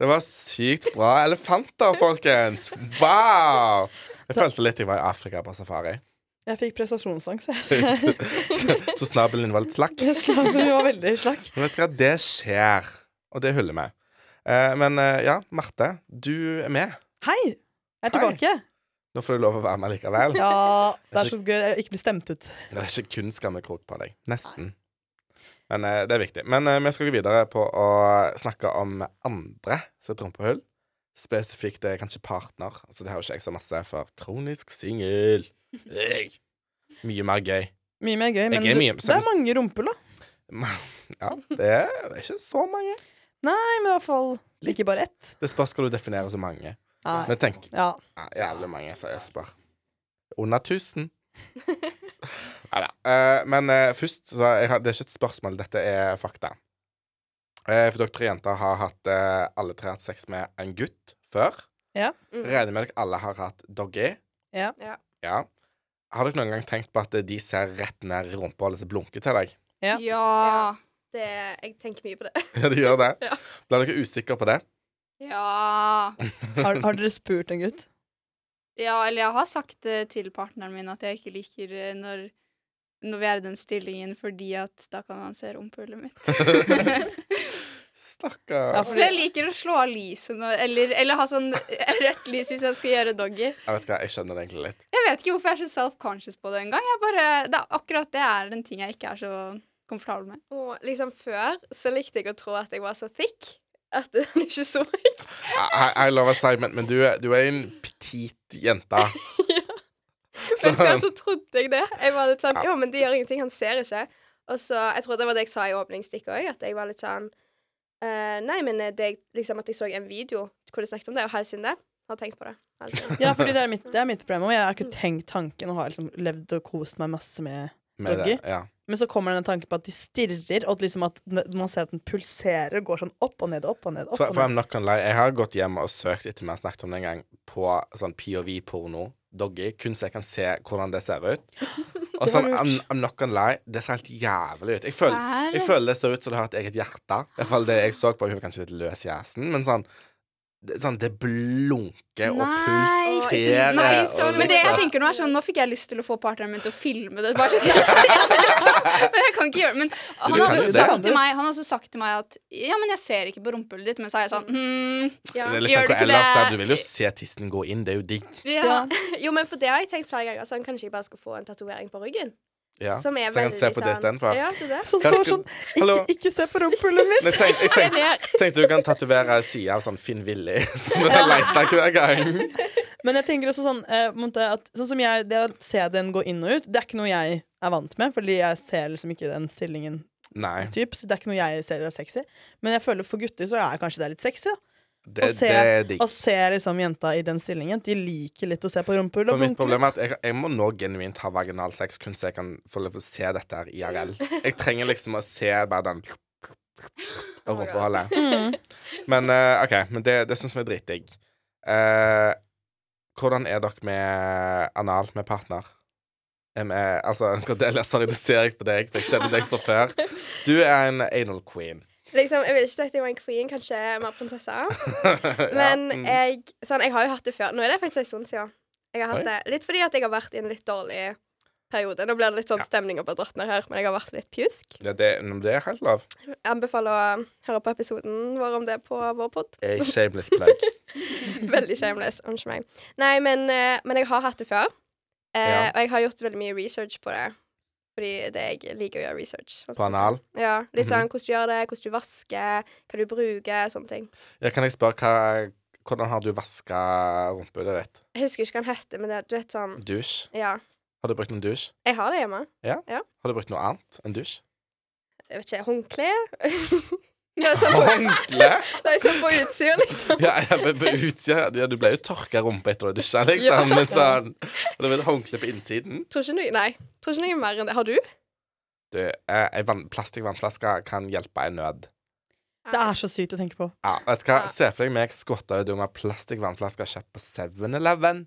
S2: Det var sykt bra elefanter, folkens. Wow! Jeg følte litt jeg var i Afrika på
S6: (laughs)
S2: safari. (laughs)
S1: Jeg fikk prestasjonsangst, jeg.
S2: Så, så snabelen din var litt slakk.
S1: (laughs) Jeg slapp, vi var veldig slakk.
S2: Men vet dere, hva? det skjer, og det huller meg. Eh, men eh, ja, Marte, du er med.
S1: Hei! Jeg er tilbake.
S2: Nå får du lov å være med likevel.
S1: Ja, det er så gøy. Jeg ikke bli stemt ut.
S2: Det er ikke kun skammekrok på deg. Nesten. Men eh, det er viktig. Men eh, vi skal gå videre på å snakke om andre sitt rumpehull. Spesifikt eh, kanskje partner. Altså, det har jo ikke jeg så masse for. Kronisk singel. Øy. Mye mer gøy. (laughs)
S1: Mye mer gøy, men
S2: Jeg er mye-
S1: det er mange rumpehull, da.
S2: Ja, det er ikke så mange.
S1: Nei, men i hvert fall ikke bare ett.
S2: Det spørs hva du definerer som mange.
S1: Nei.
S2: Men tenk
S1: Ja.
S2: ja, Jævlig mange, sa Jesper. Under 1000.
S6: (laughs)
S2: Nei da. Eh, men eh, først så jeg har, Det er ikke et spørsmål, dette er fakta. Eh, for dere tre jenter har hatt eh, alle tre hatt sex med en gutt før.
S6: Mm.
S2: Regner med dere alle har hatt doggy.
S1: Ja.
S6: Ja.
S2: Ja. Har dere noen gang tenkt på at eh, de ser rett ned i rumpehullet som blunker til deg? (laughs)
S1: Ja.
S7: Ja.
S6: Det, jeg tenker mye på det. (laughs)
S2: Ja, de gjør det?
S6: Ja.
S2: Blir dere usikre på det?
S7: Ja.
S1: Har, har dere spurt en gutt?
S7: ja. Eller jeg har sagt eh, til partneren min at jeg ikke liker eh, når når vi er i den stillingen, fordi at da kan han se rumpehullet mitt.
S2: Stakkar.
S1: Ja,
S7: Så jeg liker å slå av lyset nå, eller, eller ha sånn rødt lys hvis jeg skal gjøre doggy.
S2: Jeg vet ikke, jeg skjønner det egentlig litt.
S7: Jeg vet ikke hvorfor jeg er så self-conscious på det engang. Jeg bare- det er Akkurat det er den ting jeg ikke er så komfortabel med.
S6: Og liksom før så likte jeg å tro at jeg var så thick. at (laughs) han ikke så
S2: I, I love assignment, men du, er- du er en petit
S7: (laughs)
S2: jente.
S6: Men før
S2: Så-
S6: så trodde jeg det. Jeg var litt sånn,
S2: Ja.
S6: jo, men det gjør ingenting, han ser ikke. Og så, Jeg tror det var det jeg sa i åpningsstikket òg, at jeg var litt sånn eh, Nei, men det, jeg- liksom at jeg så en video hvor de snakket om det, og helt siden det har jeg tenkt på det. hele tiden.
S2: (laughs)
S1: Ja, fordi det er mitt, det er mitt problem. Og jeg har ikke tenkt tanken og har liksom levd og kost meg masse med
S2: Med det,
S1: Doggy?
S2: ja.
S1: Men så kommer den tanken på at de stirrer, og at liksom at n- man ser at den pulserer og går sånn opp og ned, opp og ned. opp
S2: For,
S1: og
S2: for I'm
S1: ned.
S2: not gonna lie, jeg har gått hjem og søkt etter vi har snakket om det en gang, på sånn POV-porno, doggy, kun så jeg kan se hvordan det ser
S7: (laughs)
S2: ut. Og
S1: Det var
S2: sånn, I'm,
S1: lurt.
S2: I'm not gonna lie, det ser helt jævlig ut. Jeg føler, jeg føler det ser ut som det har et eget hjerte. I hvert fall det jeg så på, hun var kanskje litt løs i assen, men sånn det, sånn, det blunker og
S7: Nei,
S6: jeg
S2: pulserer.
S7: Nei,
S2: og
S7: sånn, men det jeg
S2: liksom-
S7: tenker Nå er sånn, nå fikk jeg lyst til å få partneren min til å filme det. Bare så jeg kan se det liksom. Men jeg kan ikke gjøre det. Men han
S2: Du
S7: har,
S2: kan jo
S7: også
S2: det.
S7: sagt til meg, han har også sagt til meg at Ja, men jeg ser ikke på rumpehullet ditt. Men så er jeg sånn mm,
S2: Det er
S6: Ja.
S7: Gjør
S2: liksom,
S7: det
S2: hvor
S7: ikke
S2: ellers,
S7: det-
S2: ja, du vil jo se tissen gå inn, det er jo digg.
S7: ja.
S6: Jo, men for det har jeg tenkt flere ganger. Sånn, kanskje jeg bare skal få en tatovering på ryggen?
S2: Ja.
S6: Som er
S2: så jeg kan se
S6: veldig
S2: på det
S6: sånn-
S2: istedenfor.
S6: Ja, det er det.
S1: Så
S2: Hva
S1: står sånn
S2: skulle- Hallo?
S1: Ikke, ikke se på rumpehullet mitt!
S2: Men tenk, jeg tenk,
S6: ned.
S2: Tenkte du kan tatovere sida av sånn Finn Willy. (laughs) Som jeg leter hver gang.
S1: Men jeg tenker også sånn eh, på en måte at, Sånn som jeg, det å se den gå inn og ut, det er ikke noe jeg er vant med, fordi jeg ser liksom ikke den stillingen.
S2: Nei.
S1: Typ, så det er ikke noe jeg ser er sexy. Men jeg føler for gutter så er kanskje det litt sexy. Da.
S2: Det,
S1: Og se-
S2: det er digg.
S1: Å se liksom jenta i den stillingen. De liker litt å se på rumpehull.
S2: For
S1: og
S2: mitt
S1: blunke
S2: problem er at jeg, jeg må nå genuint ha vaginal sex kun så jeg kan få lov til å se dette her IRL. Jeg trenger liksom å se bare den og rumpehullet.
S1: litt.
S2: Men eh, OK, men det, det syns vi er dritdigg. Eh, hvordan er dere med anal med partner? Er vi- altså, (laughs) Cordelia, sorry, det ser jeg på deg, for jeg kjenner deg fra før. Du er en anal queen. (laughs)
S6: Liksom, jeg ville ikke sagt jeg var en queen, kanskje mer prinsesse. Men
S2: ja. mm.
S6: jeg, sånn, jeg har jo hatt det før. Nå er det faktisk en stund siden. Jeg har hatt det. Litt fordi at jeg har vært i en litt dårlig periode. Nå blir det litt sånn
S2: Ja.
S6: stemning opp av dratt ned her, men jeg har vært litt pjusk.
S2: Ja, det, det er helt lov.
S6: Jeg anbefaler å høre på episoden vår om det på vår pod.
S2: A shameless plug.
S6: Veldig shameless. Unnskyld meg. Nei, men, eh, men jeg har hatt det før. Eh,
S2: Ja.
S6: Og jeg har gjort veldig mye research på det. Fordi det jeg liker å gjøre research. sånn
S2: På Mhm. anal.
S6: Ja, litt sånn hvordan du gjør det, hvordan du vasker, hva du bruker, sånne ting.
S2: (laughs) Ja, kan jeg spørre hva, hvordan har du vaska rumpehullet ditt?
S6: Jeg husker ikke hva den heter, men det, du vet sånn
S2: Dusj?
S6: Ja.
S2: Har du brukt en dusj?
S6: Jeg har det hjemme.
S2: Har du brukt noe annet enn dusj?
S6: jeg vet ikke, håndkle? (laughs) ja, sånn på,
S2: Håndkle?
S6: nei, sånn på utsida, liksom.
S2: Ja, ja, men på utsida ja, Du ble jo tørka rumpa etter å ha dusja, liksom. Men sånn Og det var et håndkle på innsiden.
S6: Tror ikke noe, nei, tror ikke noe mer enn det. Har du?
S2: Du, eh, ei vann, plastikkvannflaske kan hjelpe i nød.
S1: Det er så sykt å tenke på.
S2: Ja, vet du hva?
S6: Ja.
S2: Se for deg meg skvatta ut om ei plastikkvannflaske kjøpt på 7-Eleven.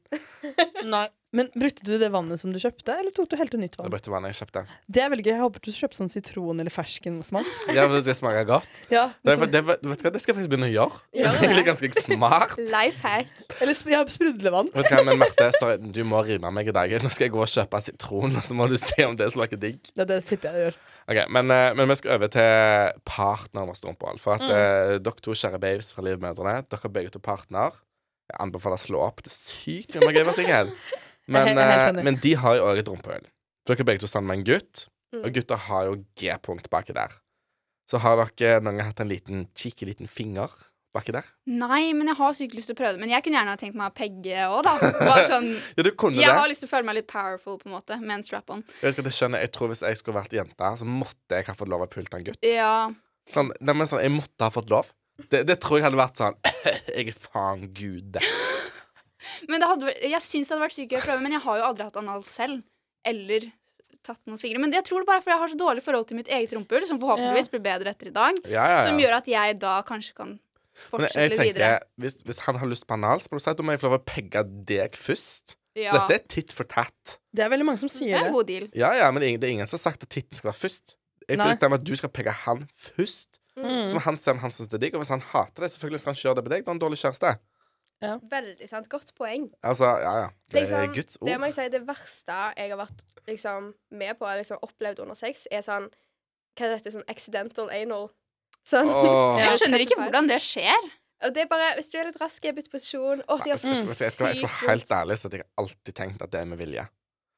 S1: Men brukte du det vannet som du kjøpte, eller tok du helt nytt
S2: Det
S1: vann?
S2: brukte vannet jeg kjøpte.
S1: Det er veldig gøy. Jeg håper du kjøpte sånn sitron- eller fersken-smak.
S2: (laughs) Ja, men det smaker godt.
S1: Ja,
S2: Det,
S1: liksom.
S2: det, vet du hva? det skal jeg faktisk begynne å gjøre. Det
S6: Gjør
S2: er
S6: det.
S2: egentlig ganske smart.
S6: Life hack.
S1: Eller sp ja, sprudlevann.
S2: Vet du hva, men Marte, sorry, du må rime meg i dag. Nå skal jeg gå og kjøpe sitron, og så må du se om det smaker digg.
S1: Det, det tipper jeg det gjør.
S2: Ok, Men, eh, men vi skal over til partner med strumpehold. For
S1: Mm.
S2: at eh, dere to kjære babes fra Livmødrene, dere er begge to partner. Jeg anbefaler å slå opp. Det er sykt mye gøy med seg her. Men,
S1: (laughs) Jeg er helt
S2: eh,
S1: enig.
S2: men de har jo også et rumpehull. For Dere er begge to sammen med en gutt,
S6: Mm.
S2: og gutter har jo G-punkt baki der. Så har dere noen gang hatt en liten cheeky liten finger baki der?
S7: Nei, men jeg har sykt lyst til å prøve det. Men jeg kunne gjerne ha tenkt meg å pegge òg, da. Bare sånn,
S2: Ja, du (laughs) kunne
S7: jeg
S2: det.
S7: har lyst til å føle meg litt powerful på en måte, med en strap-on.
S2: Jeg, vet ikke, det skjønner, jeg jeg tror Hvis jeg skulle vært jente, så måtte jeg ha fått lov å pulte en gutt.
S7: Ja.
S2: Sånn, nei, men sånn, jeg måtte ha fått lov. Det, det tror jeg hadde vært sånn (laughs) Jeg er faen gud.
S7: Men det hadde, vært- jeg syns det hadde vært sykt gøy å prøve, men jeg har jo aldri hatt anal selv. Eller tatt noen fingre. Men det jeg tror det bare er fordi jeg har så dårlig forhold til mitt eget rumpehull, som forhåpentligvis blir bedre etter i dag,
S2: Ja, ja,
S7: som
S2: ja.
S7: gjør at jeg da kanskje kan
S2: Men jeg
S7: fortsette videre.
S2: tenker, hvis, hvis han har lyst på anal, så må du si at da må jeg få lov å pegge deg først.
S7: Ja.
S2: Dette er tit for tat.
S1: Det er veldig mange som
S7: Det
S1: sier
S7: er en
S1: det.
S7: god deal.
S2: Ja, ja, men det er ingen- det er ingen som har sagt at titten skal være først. Jeg
S1: Nei.
S2: bestemmer at du skal pegge han først. Så må
S1: Mm.
S2: han se om han syns det er digg. Og hvis han hater det, selvfølgelig skal han kjøre det på deg. Du har en dårlig kjæreste.
S6: Veldig sant. Godt poeng.
S2: Altså, ja, ja. Det er
S6: Liksom,
S2: Guds
S6: Det må
S2: ord.
S6: jeg si, det verste jeg har vært liksom, med på, liksom opplevd under sex, er sånn Hva er dette? Sånn accidental anal.
S2: (laughs)
S6: Sånn.
S2: Åh.
S6: Ja.
S7: Jeg skjønner ikke hvordan det skjer.
S6: Og det er bare Hvis du er litt rask, bytt posisjon Å, de har
S2: Jeg
S6: så
S2: skal, jeg, skal, jeg, skal, jeg skal være helt ærlig Så at jeg har alltid tenkt at det er med vilje.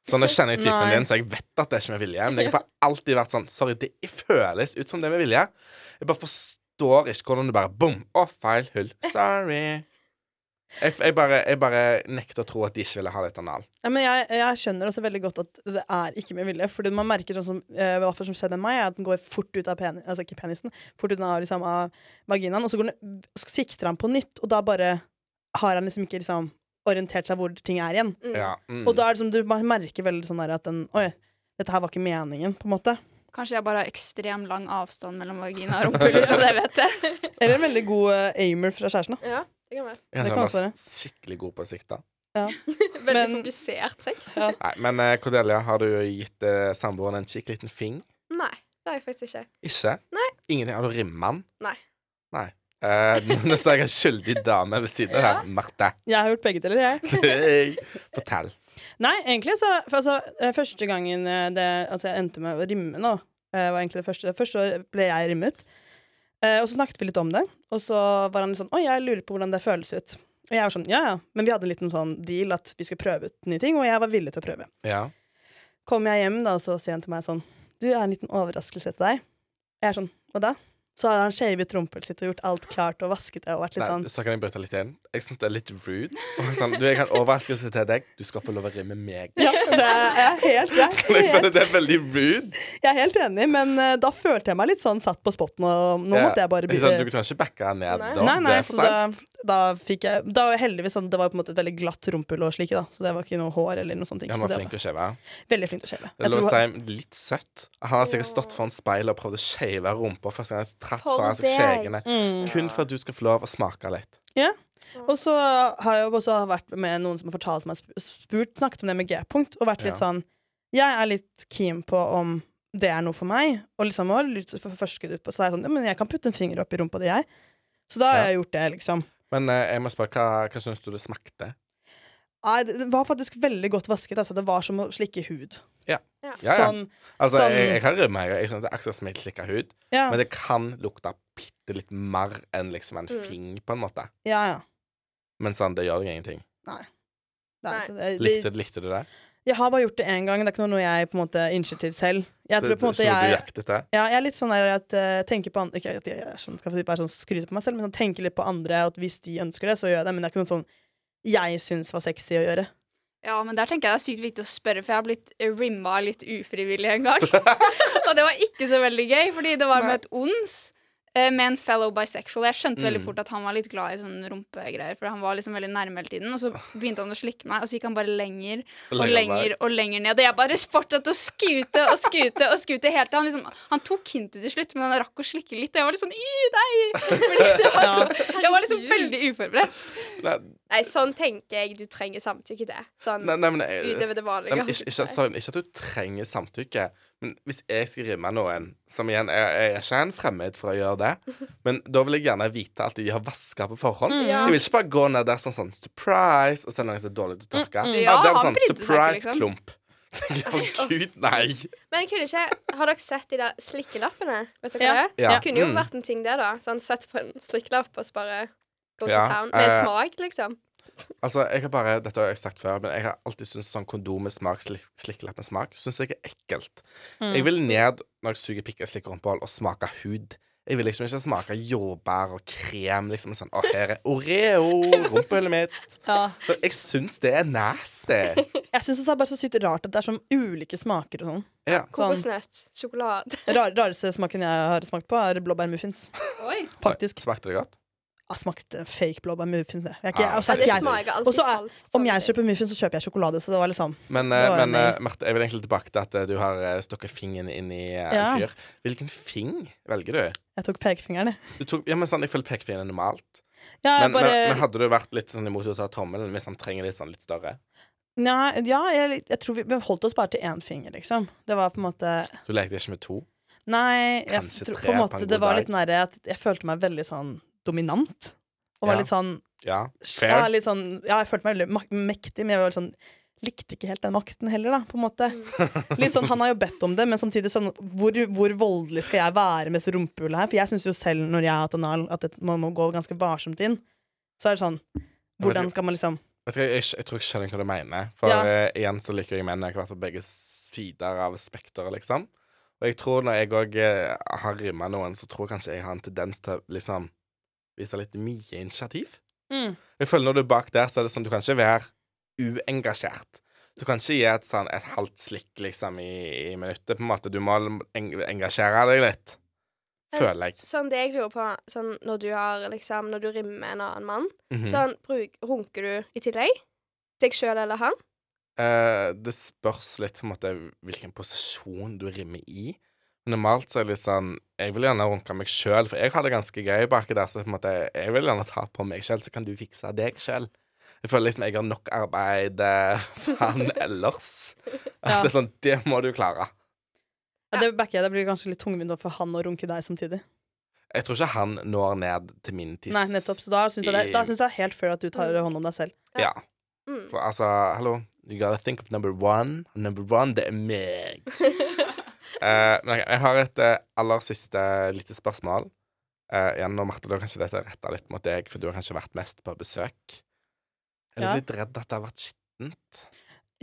S2: Sånn, Jeg kjenner jo typen
S1: Nei.
S2: din, så jeg vet at det er ikke med vilje. Men jeg har bare alltid vært sånn Sorry, det føles ut som det er med vilje. Jeg bare forstår forstår ikke hvordan du bare Bom! Å, feil hull. Sorry. Jeg, jeg, bare, jeg bare nekter å tro at de ikke ville ha litt anal.
S1: Ja, men jeg, jeg skjønner også veldig godt at det er ikke med vilje. Fordi man merker sånn som eh, hva som skjedde med meg, er at den går fort ut av peni, altså ikke penisen, fort ut av, liksom, av vaginaen, og så går den, sikter han på nytt, og da bare har han liksom ikke liksom, orientert seg hvor ting er igjen.
S6: Mm.
S2: Ja, mm.
S1: Og da er det som du bare merker veldig sånn der at den Oi, dette her var ikke meningen, på en måte.
S7: Kanskje jeg bare har ekstrem lang avstand mellom vagina og rumpehull. uten at jeg vet det.
S1: Eller en veldig god eh, aimer fra kjæresten. da.
S6: Mm. Ja, det kan være.
S2: Jeg
S1: det
S2: er sånn
S1: kan også
S2: bare
S1: være.
S2: skikkelig god på å sikte.
S6: Veldig
S1: Men-
S6: fokusert sex.
S2: Nei, men eh, Cordelia, har du gitt eh, samboeren en kikk liten fing?
S6: Nei, det har jeg faktisk ikke.
S2: Ikke?
S6: Nei.
S2: Ingenting? Har du rimmet den?
S6: Nei.
S2: Nei. Eh, (laughs) nå sa jeg en skyldig dame ved siden av her.
S1: (laughs)
S2: Marte.
S1: Jeg har gjort begge deler, jeg.
S2: Hey. Fortell.
S1: Nei, egentlig så for, altså, eh, Første gangen eh, det, altså, jeg endte med å rimme nå, eh, var egentlig det første. Først så ble jeg rimmet, Eh, og så snakket vi litt om det. Og så var han litt sånn Oi, jeg lurer på hvordan det føles ut. Og jeg var sånn Ja, ja. Men vi hadde en liten sånn deal at vi skulle prøve ut nye ting, og jeg var villig til å prøve.
S2: Ja.
S1: Kom jeg hjem, da, og så sier han til meg sånn Du, jeg har en liten overraskelse til deg. Jeg er sånn Hva da? Så hadde han shavet rumpet sitt og gjort alt klart og vasket det og vært litt
S2: Nei,
S1: sånn
S2: så kan jeg bryte litt inn. Jeg syns det er litt rude. Og Sånn, du, jeg kan overraskelse til deg. Du skal få lov å rimme
S1: (laughs)
S2: meg.
S1: Ja, det er jeg er helt, jeg er
S2: Jeg
S1: helt
S2: føler det er veldig rude.
S1: Jeg er helt enig, men eh, da følte jeg meg litt sånn satt på spotten, og nå
S2: Ja.
S1: måtte jeg bare
S2: Ikke
S1: begynne.
S2: sant, sånn, du kan ikke backe ned
S6: Nei.
S2: da.
S1: Nei, nei,
S2: det er
S1: så da,
S2: sant.
S1: da fikk jeg Da var jeg heldigvis sånn Det var jo på en måte et veldig glatt rumpehull og slike, da, så det var ikke noe hår eller noe sånt.
S2: Ja, Han
S1: så
S2: var
S1: det
S2: flink å skjeve.
S1: var veldig flink til å skjeve.
S2: Det
S1: Jeg
S2: lå
S1: tror-
S2: seg litt søtt. Han har sikkert stått foran speilet og prøvd å skjeve rumpa første gang han tratt
S6: For
S2: fra seg
S6: deg.
S2: skjegene.
S1: Mm.
S2: Kun for at du skal få lov å smake litt.
S1: Og så har jeg jo også vært med noen som har fortalt meg sp- spurt, snakket om det med G-punkt, og vært litt
S2: Ja.
S1: sånn Jeg er litt keen på om det er noe for meg, og liksom har lyst til å forforske det ut på Så er jeg sånn Ja, men jeg kan putte en finger opp i rumpa di, jeg. Så da har
S2: Ja.
S1: jeg gjort det, liksom.
S2: Men eh, jeg må spørre, hva, hva syns du det smakte?
S1: Nei, det det var faktisk veldig godt vasket. Altså, det var som å slikke hud.
S2: Ja.
S6: Ja.
S2: Ja, ja.
S1: Sånn,
S2: Altså,
S1: Sånn-
S2: jeg, jeg kan rømme her. Jeg synes det er akkurat som jeg slikker hud.
S1: ja.
S2: Men det kan lukte bitte litt mer enn liksom en
S6: Mm.
S2: fing, på en måte.
S1: ja, ja.
S2: Men sånn, det gjør deg ingenting.
S1: Nei,
S6: Nei.
S1: så det,
S2: Likte,
S1: det,
S2: likte du det?
S1: jeg har bare gjort det én gang. Det er ikke noe jeg på en måte initiativ selv. Jeg tror på en
S2: Det-
S1: måte
S2: det- så du
S1: jeg,
S2: jaktet det?
S1: ja, jeg er litt sånn der at eh, tenker på andre Ikke at jeg er sånn, skal jeg bare sånn skryte på meg selv, men sånn, tenker litt på andre. At hvis de ønsker det, så gjør jeg det. Men det er ikke noe sånn jeg syns var sexy å gjøre.
S7: Ja, men der tenker jeg det er sykt viktig å spørre, for jeg har blitt rimma litt ufrivillig en (laughs) gang. og det var ikke så veldig gøy, fordi det var med et ons eh, med en fellow bisexual. Jeg skjønte veldig
S2: Mm.
S7: fort at han var litt glad i sånne rumpegreier, for han var liksom veldig nærme hele tiden. Og så begynte han å slikke meg, og så gikk han bare lenger og lenger og lenger ned. Og jeg bare fortsatte å skute og skute og skute helt til han liksom Han tok hintet til slutt, men han rakk å slikke litt. Og jeg var litt sånn i nei! Fordi det var så, jeg var liksom veldig uforberedt.
S2: Nei,
S6: Nei, sånn tenker jeg du trenger samtykke til. Sånn
S2: nei, nei, men jeg,
S6: utover det vanlige.
S2: Nei, men ikke, ikke, sorry, men ikke at du trenger samtykke. Men hvis jeg skal rimme noen Som igjen, jeg, jeg er ikke en fremmed for å gjøre
S1: (laughs)
S2: det. Men da vil jeg gjerne vite at de har vaska på forhånd.
S6: Ja.
S2: Jeg vil ikke bare gå ned der sånn sånn surprise, og så er det noen som er dårlig til å tørke.
S7: mm. Ja,
S2: det er
S7: han
S2: sånn
S7: brydde seg ikke, liksom. (laughs)
S2: surprise-klump. Tenker jeg, Å, liksom, gud, nei.
S6: Men jeg kunne ikke Har dere sett de der slikkelappene? Vet dere
S1: Ja.
S6: hva det? er?
S2: Ja.
S6: Det kunne jo
S2: Mm.
S6: vært en ting, det, da. Sånn sett på en slikkelapp og så bare go
S2: Ja,
S6: to town. Med
S2: eh,
S6: smak, liksom.
S2: Altså, jeg har bare, Dette har jeg sagt før, men jeg har alltid syntes sånn kondom med smak, slik, slikkelapp med smak, syns jeg er ekkelt.
S1: Mm.
S2: Jeg vil ned når jeg suger pikk og slikker rumpehull, og smake hud. Jeg vil liksom ikke smake jordbær og krem. liksom sånn, Å, her er
S7: (laughs)
S2: Oreo! Rumpehullet mitt.
S1: Ja.
S2: Så jeg syns det er
S7: (laughs)
S2: nasty.
S1: Jeg syns det er bare så sykt rart at det er sånn ulike smaker og sånn.
S2: Ja.
S1: sånn
S6: Kokosnøtt, sjokolade.
S1: rar, rareste smaken jeg har smakt på, er blåbærmuffins.
S7: Oi.
S1: Faktisk.
S2: Smakte det godt?
S1: Jeg smakte fake blåbærmuffins. jeg. Jeg er ikke-
S2: Ah. Ja, sånn-
S1: altså,
S6: (laughs) Ja, det
S1: jeg-
S6: smaker
S1: Og
S6: alltid
S1: så er-
S6: falskt. sånn.
S1: Om
S6: sånne
S1: jeg
S6: ting.
S1: kjøper muffins, så kjøper jeg sjokolade. Så det var liksom
S2: Men,
S1: Det
S2: eh,
S1: var
S2: men
S1: en
S2: eh, Marte, jeg vil egentlig tilbake til at eh, du har eh, stukket fingeren inn i eh, en
S1: Ja.
S2: fyr. Hvilken fing velger du?
S1: Jeg tok pekefingeren, jeg.
S2: du tok, ja, men sånn, Jeg føler pekefingeren er normalt.
S1: Ja, jeg
S2: Men,
S1: bare,
S2: men, men hadde du vært litt sånn imot å ta tommelen hvis han trenger litt sånn litt større?
S1: Nei, ja, jeg, jeg tror vi, vi holdt oss bare til én finger, liksom. Det var på en måte
S2: Du lekte ikke med to?
S1: Nei, jeg
S2: Kanskje
S1: tror,
S2: tre
S1: på en
S2: på
S1: måte
S2: en
S1: det
S2: god
S1: var
S2: dag.
S1: litt nære at jeg følte meg veldig sånn dominant. Og var
S2: Ja.
S1: litt sånn
S2: Ja.
S1: ja,
S2: Fair.
S1: litt sånn ja, jeg følte meg veldig mak mektig, men jeg var litt sånn Likte ikke helt den makten heller, da, på en måte.
S2: Mm.
S1: Litt
S2: (laughs)
S1: sånn, Han har jo bedt om det, men samtidig sånn Hvor, hvor voldelig skal jeg være med dette rumpehullet her? For jeg syns jo selv, når jeg har hatt anal, at det, man må gå ganske varsomt inn. Så er det sånn Hvordan skal man liksom
S2: Vet du hva, Jeg, jeg, jeg tror jeg skjønner hva du mener. For
S1: Ja.
S2: eh, igjen så liker jeg menn. Jeg har vært på begge sider av spekteret, liksom. Og jeg tror når jeg òg har rimma noen, så tror jeg kanskje jeg har en tendens til å liksom vise litt mye initiativ.
S1: Mm.
S2: Jeg føler når du er bak der, så er det sånn du kan ikke være uengasjert. Du kan ikke gi et sånn et halvt slikk liksom i, i minuttet, på en måte. Du må eng engasjere deg litt. Føler jeg.
S6: Sånn det jeg lurer på, sånn når du har liksom Når du rimmer en annen mann,
S2: Mhm.
S6: sånn bruk, runker du i tillegg? Deg sjøl eller han?
S2: Eh, det spørs litt på en måte hvilken posisjon du rimmer i. Men Normalt så er det litt sånn Jeg vil gjerne runke meg sjøl, for jeg har det ganske gøy baki der. Så på en måte, jeg vil gjerne ta på meg sjøl, så kan du fikse deg sjøl. Jeg føler liksom jeg har nok arbeid eh, (laughs) for han ellers.
S1: Ja.
S2: At det er sånn Det må du klare.
S1: Ja, det backer jeg. Det blir kanskje litt tungvint også for han å runke deg samtidig.
S2: Jeg tror ikke han når ned til min tiss.
S1: Nei, nettopp. Så da syns jeg det da synes jeg er helt fair at du tar hånd om deg selv.
S2: Ja.
S6: Mm.
S2: For altså, hallo You gotta think of number one. Og Number one, det er meg.
S6: (laughs)
S2: Eh, men jeg- jeg har et eh, aller siste lite spørsmål. Uh, igjen, og Marte, da kanskje dette er retta litt mot deg, for du har kanskje vært mest på besøk. Er du
S1: Ja.
S2: litt redd at det har vært skittent?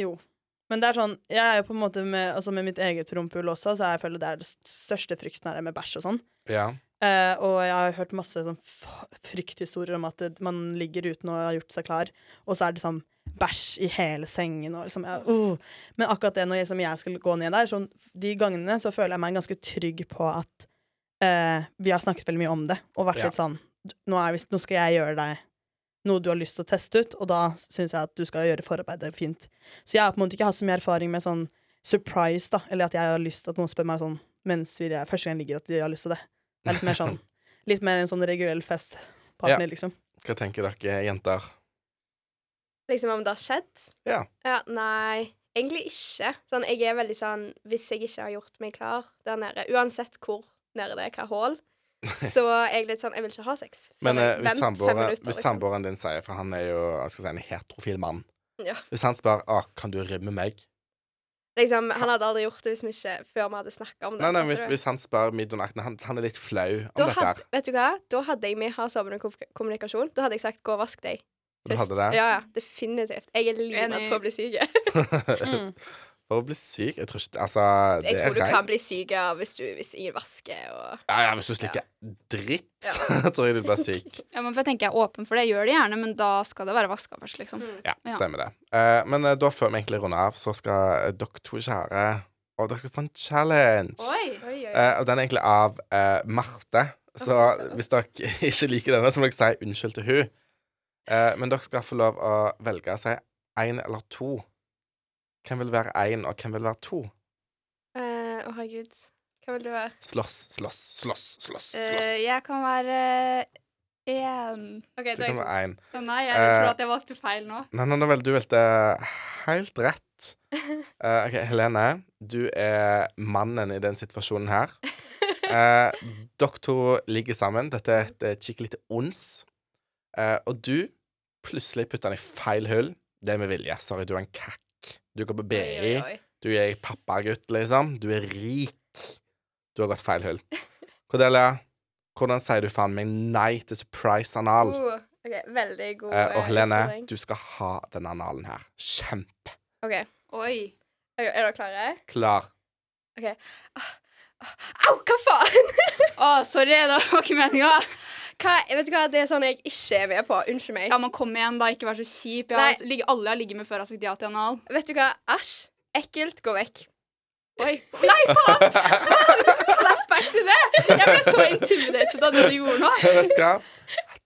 S1: Men det er sånn, jeg er jo på en måte med, altså med mitt eget rumpehull også, så jeg føler det er det største frykten her er med bæsj og sånn.
S2: Ja.
S1: Eh, og jeg har hørt masse sånn f- frykthistorier om at det, man ligger uten å ha gjort seg klar, og så er det sånn bæsj i hele sengen og liksom ja, uh. Men akkurat det når jeg, som jeg skal gå ned der, sånn, de gangene så føler jeg meg ganske trygg på at eh, vi har snakket veldig mye om det, og vært
S2: Ja.
S1: litt sånn nå, er vi, nå skal jeg gjøre deg noe du har lyst til å teste ut, og da syns jeg at du skal gjøre forarbeidet fint. Så jeg har på en måte ikke hatt så mye erfaring med sånn surprise, da, eller at jeg har lyst til at noen spør meg sånn mens vi første gang ligger, at de har lyst til det. Det er litt mer sånn Litt mer en sånn regulell festpartner, liksom.
S2: Hva tenker dere, jenter?
S6: Liksom om det har skjedd?
S2: Ja.
S6: Nei, egentlig ikke. Sånn, jeg er veldig sånn Hvis jeg ikke har gjort meg klar der nede, uansett hvor nede det er, hva
S2: (laughs)
S6: hull, så er jeg litt sånn Jeg vil ikke ha sex. før
S2: Men eh,
S6: jeg-
S2: hvis,
S6: vent fem
S2: samboeren,
S6: minutter,
S2: hvis
S6: liksom.
S2: samboeren din sier, for han er jo jeg skal si, en heterofil mann
S6: Ja.
S2: Hvis han spør ah, kan du rimme meg
S6: liksom, Han hadde aldri gjort det hvis vi ikke, før vi hadde snakka om det.
S2: Nei, nei,
S6: skjønner
S2: hvis,
S6: du?
S2: hvis han spør midt om natten han, han er litt flau om
S6: da
S2: dette her.
S6: hadde, vet du hva? Da hadde jeg med ha sovende kom- kommunikasjon. Da hadde jeg sagt 'gå og vask deg'.
S2: Du hadde det?
S6: Ja, ja, definitivt. Jeg er livredd
S7: Enig.
S6: for å bli syk. (laughs)
S1: Mm.
S2: (laughs) For å bli syk Jeg tror ikke Altså, det
S6: Jeg tror
S2: er
S6: du kan
S2: reint.
S6: bli syk av hvis, du, hvis ingen vasker og
S2: Ja, ja, hvis du slikker dritt, (laughs) tror jeg du blir syk.
S7: Ja, men for jeg tenker jeg er åpen for det. Jeg gjør det gjerne, men da skal det være vaska først, liksom.
S2: Ja,
S7: Ja.
S2: stemmer det. Eh, men eh, da før vi egentlig runder av, så skal eh, dere to kjære Og dere skal få en challenge.
S7: Oi!
S2: Eh, og den er egentlig av eh, Marte. Så hvis dere (laughs) ikke liker denne, så må dere si unnskyld til hun Eh, men dere skal få lov å velge å si én eller to. Hvem vil være én, og hvem vil være to?
S6: Eh, Å, herregud. Hva vil du være?
S2: Slåss, slåss, slåss, slåss. slåss.
S7: Eh, jeg kan være eh, én
S6: OK, da
S2: Du
S6: er jeg
S2: kan
S6: to.
S2: være én.
S7: Nei, jeg
S2: Eh.
S7: tror at jeg valgte feil nå.
S2: Nei, nei, nå vel, du valgte helt
S6: (laughs)
S2: rett. Eh, ok, Helene, du er mannen i den situasjonen her. Eh, dere to ligger sammen. Dette er et eh, skikkelig lite ons. Eh, og du plutselig putter den i feil hull. Det er med vilje. Sorry, du er en kakk. Du går på BI.
S6: oi.
S2: Du er pappagutt, liksom. Du er rik. Du har gått feil hull. Cordelia, hvordan sier du faen meg nei til surprise anal?
S6: Uh, OK, veldig god
S2: Eh, og
S6: eh,
S2: Helene,
S6: utfordring.
S2: du skal ha denne analen her. Kjempeklar.
S6: OK,
S7: Oi.
S6: er, er dere klare? Au, hva faen? (laughs)
S7: Å, sorry, det var ikke meninga.
S6: Hva, vet du hva, det er sånn jeg ikke er med på. Unnskyld meg.
S7: Ja, men kom igjen, da. Ikke vær så kjip. Jeg
S6: Nei.
S7: har, ligget- alle jeg har ligget med før, har sagt ja til (laughs) anal.
S6: Vet du hva, æsj. Ekkelt. Gå vekk. (laughs) Oi.
S7: Klapp er ikke det! Jeg ble så intimidated av det du gjorde nå.
S2: Vet du hva?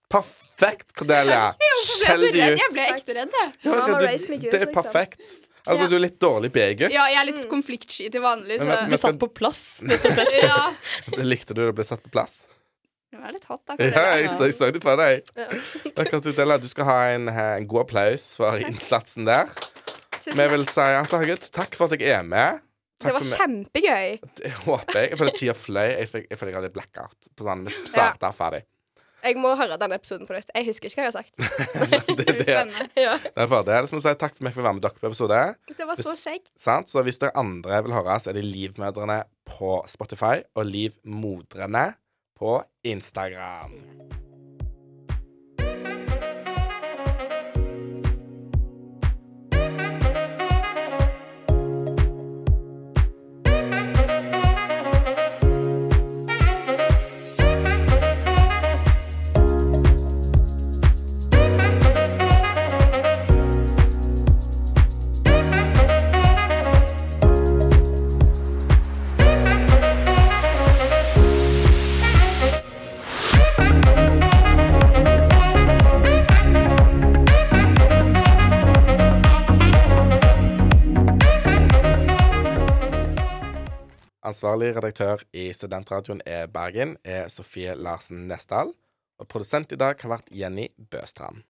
S2: Perfekt,
S6: (laughs)
S2: Cordelia.
S7: Jeg ble, så
S2: Skjell de ut.
S7: redd. jeg ble ekte redd, jeg.
S2: Ja, vet du hva,
S6: Mama raised me
S2: du-
S6: good,
S2: Det er
S6: liksom.
S2: perfekt. Altså,
S7: Ja.
S2: du er litt dårlig BI-gutt.
S7: Ja, jeg er litt konfliktsky til vanlig, så
S2: Men-
S1: Bli satt på plass.
S7: ja.
S2: Likte du å bli satt på plass?
S7: Jeg er litt hot, da.
S2: Ja, jeg,
S7: kanskje.
S2: så- jeg så det for deg.
S6: Ja.
S2: Akkurat, Cordelia, du skal ha en, eh, en god applaus for innsatsen der. Vi
S6: Tusen takk.
S2: vil si altså, herregud, takk for at jeg er med.
S6: Det
S2: Takk
S6: var
S2: for meg.
S6: kjempegøy.
S2: Jeg håper jeg. Jeg føler tida fløy. Jeg føler jeg, føler jeg hadde blackout. På sånn, vi starta ferdig. (laughs)
S6: Jeg må høre den episoden på nytt. Jeg husker ikke hva jeg har sagt.
S2: Det,
S7: Det blir
S2: det,
S7: spennende.
S6: (laughs) Ja.
S2: Det er en fordel. Så må jeg si takk for meg for å være med dere på episode.
S6: Det var så
S2: Hvis-
S6: kjekt.
S2: Sant? Så hvis dere andre vil høre, så er det Livmødrene på Spotify og Livmodrene på Instagram. Ansvarlig redaktør i Studentradioen i Bergen er Sofie Larsen Nesdal. Og produsent i dag har vært Jenny Bøstrand.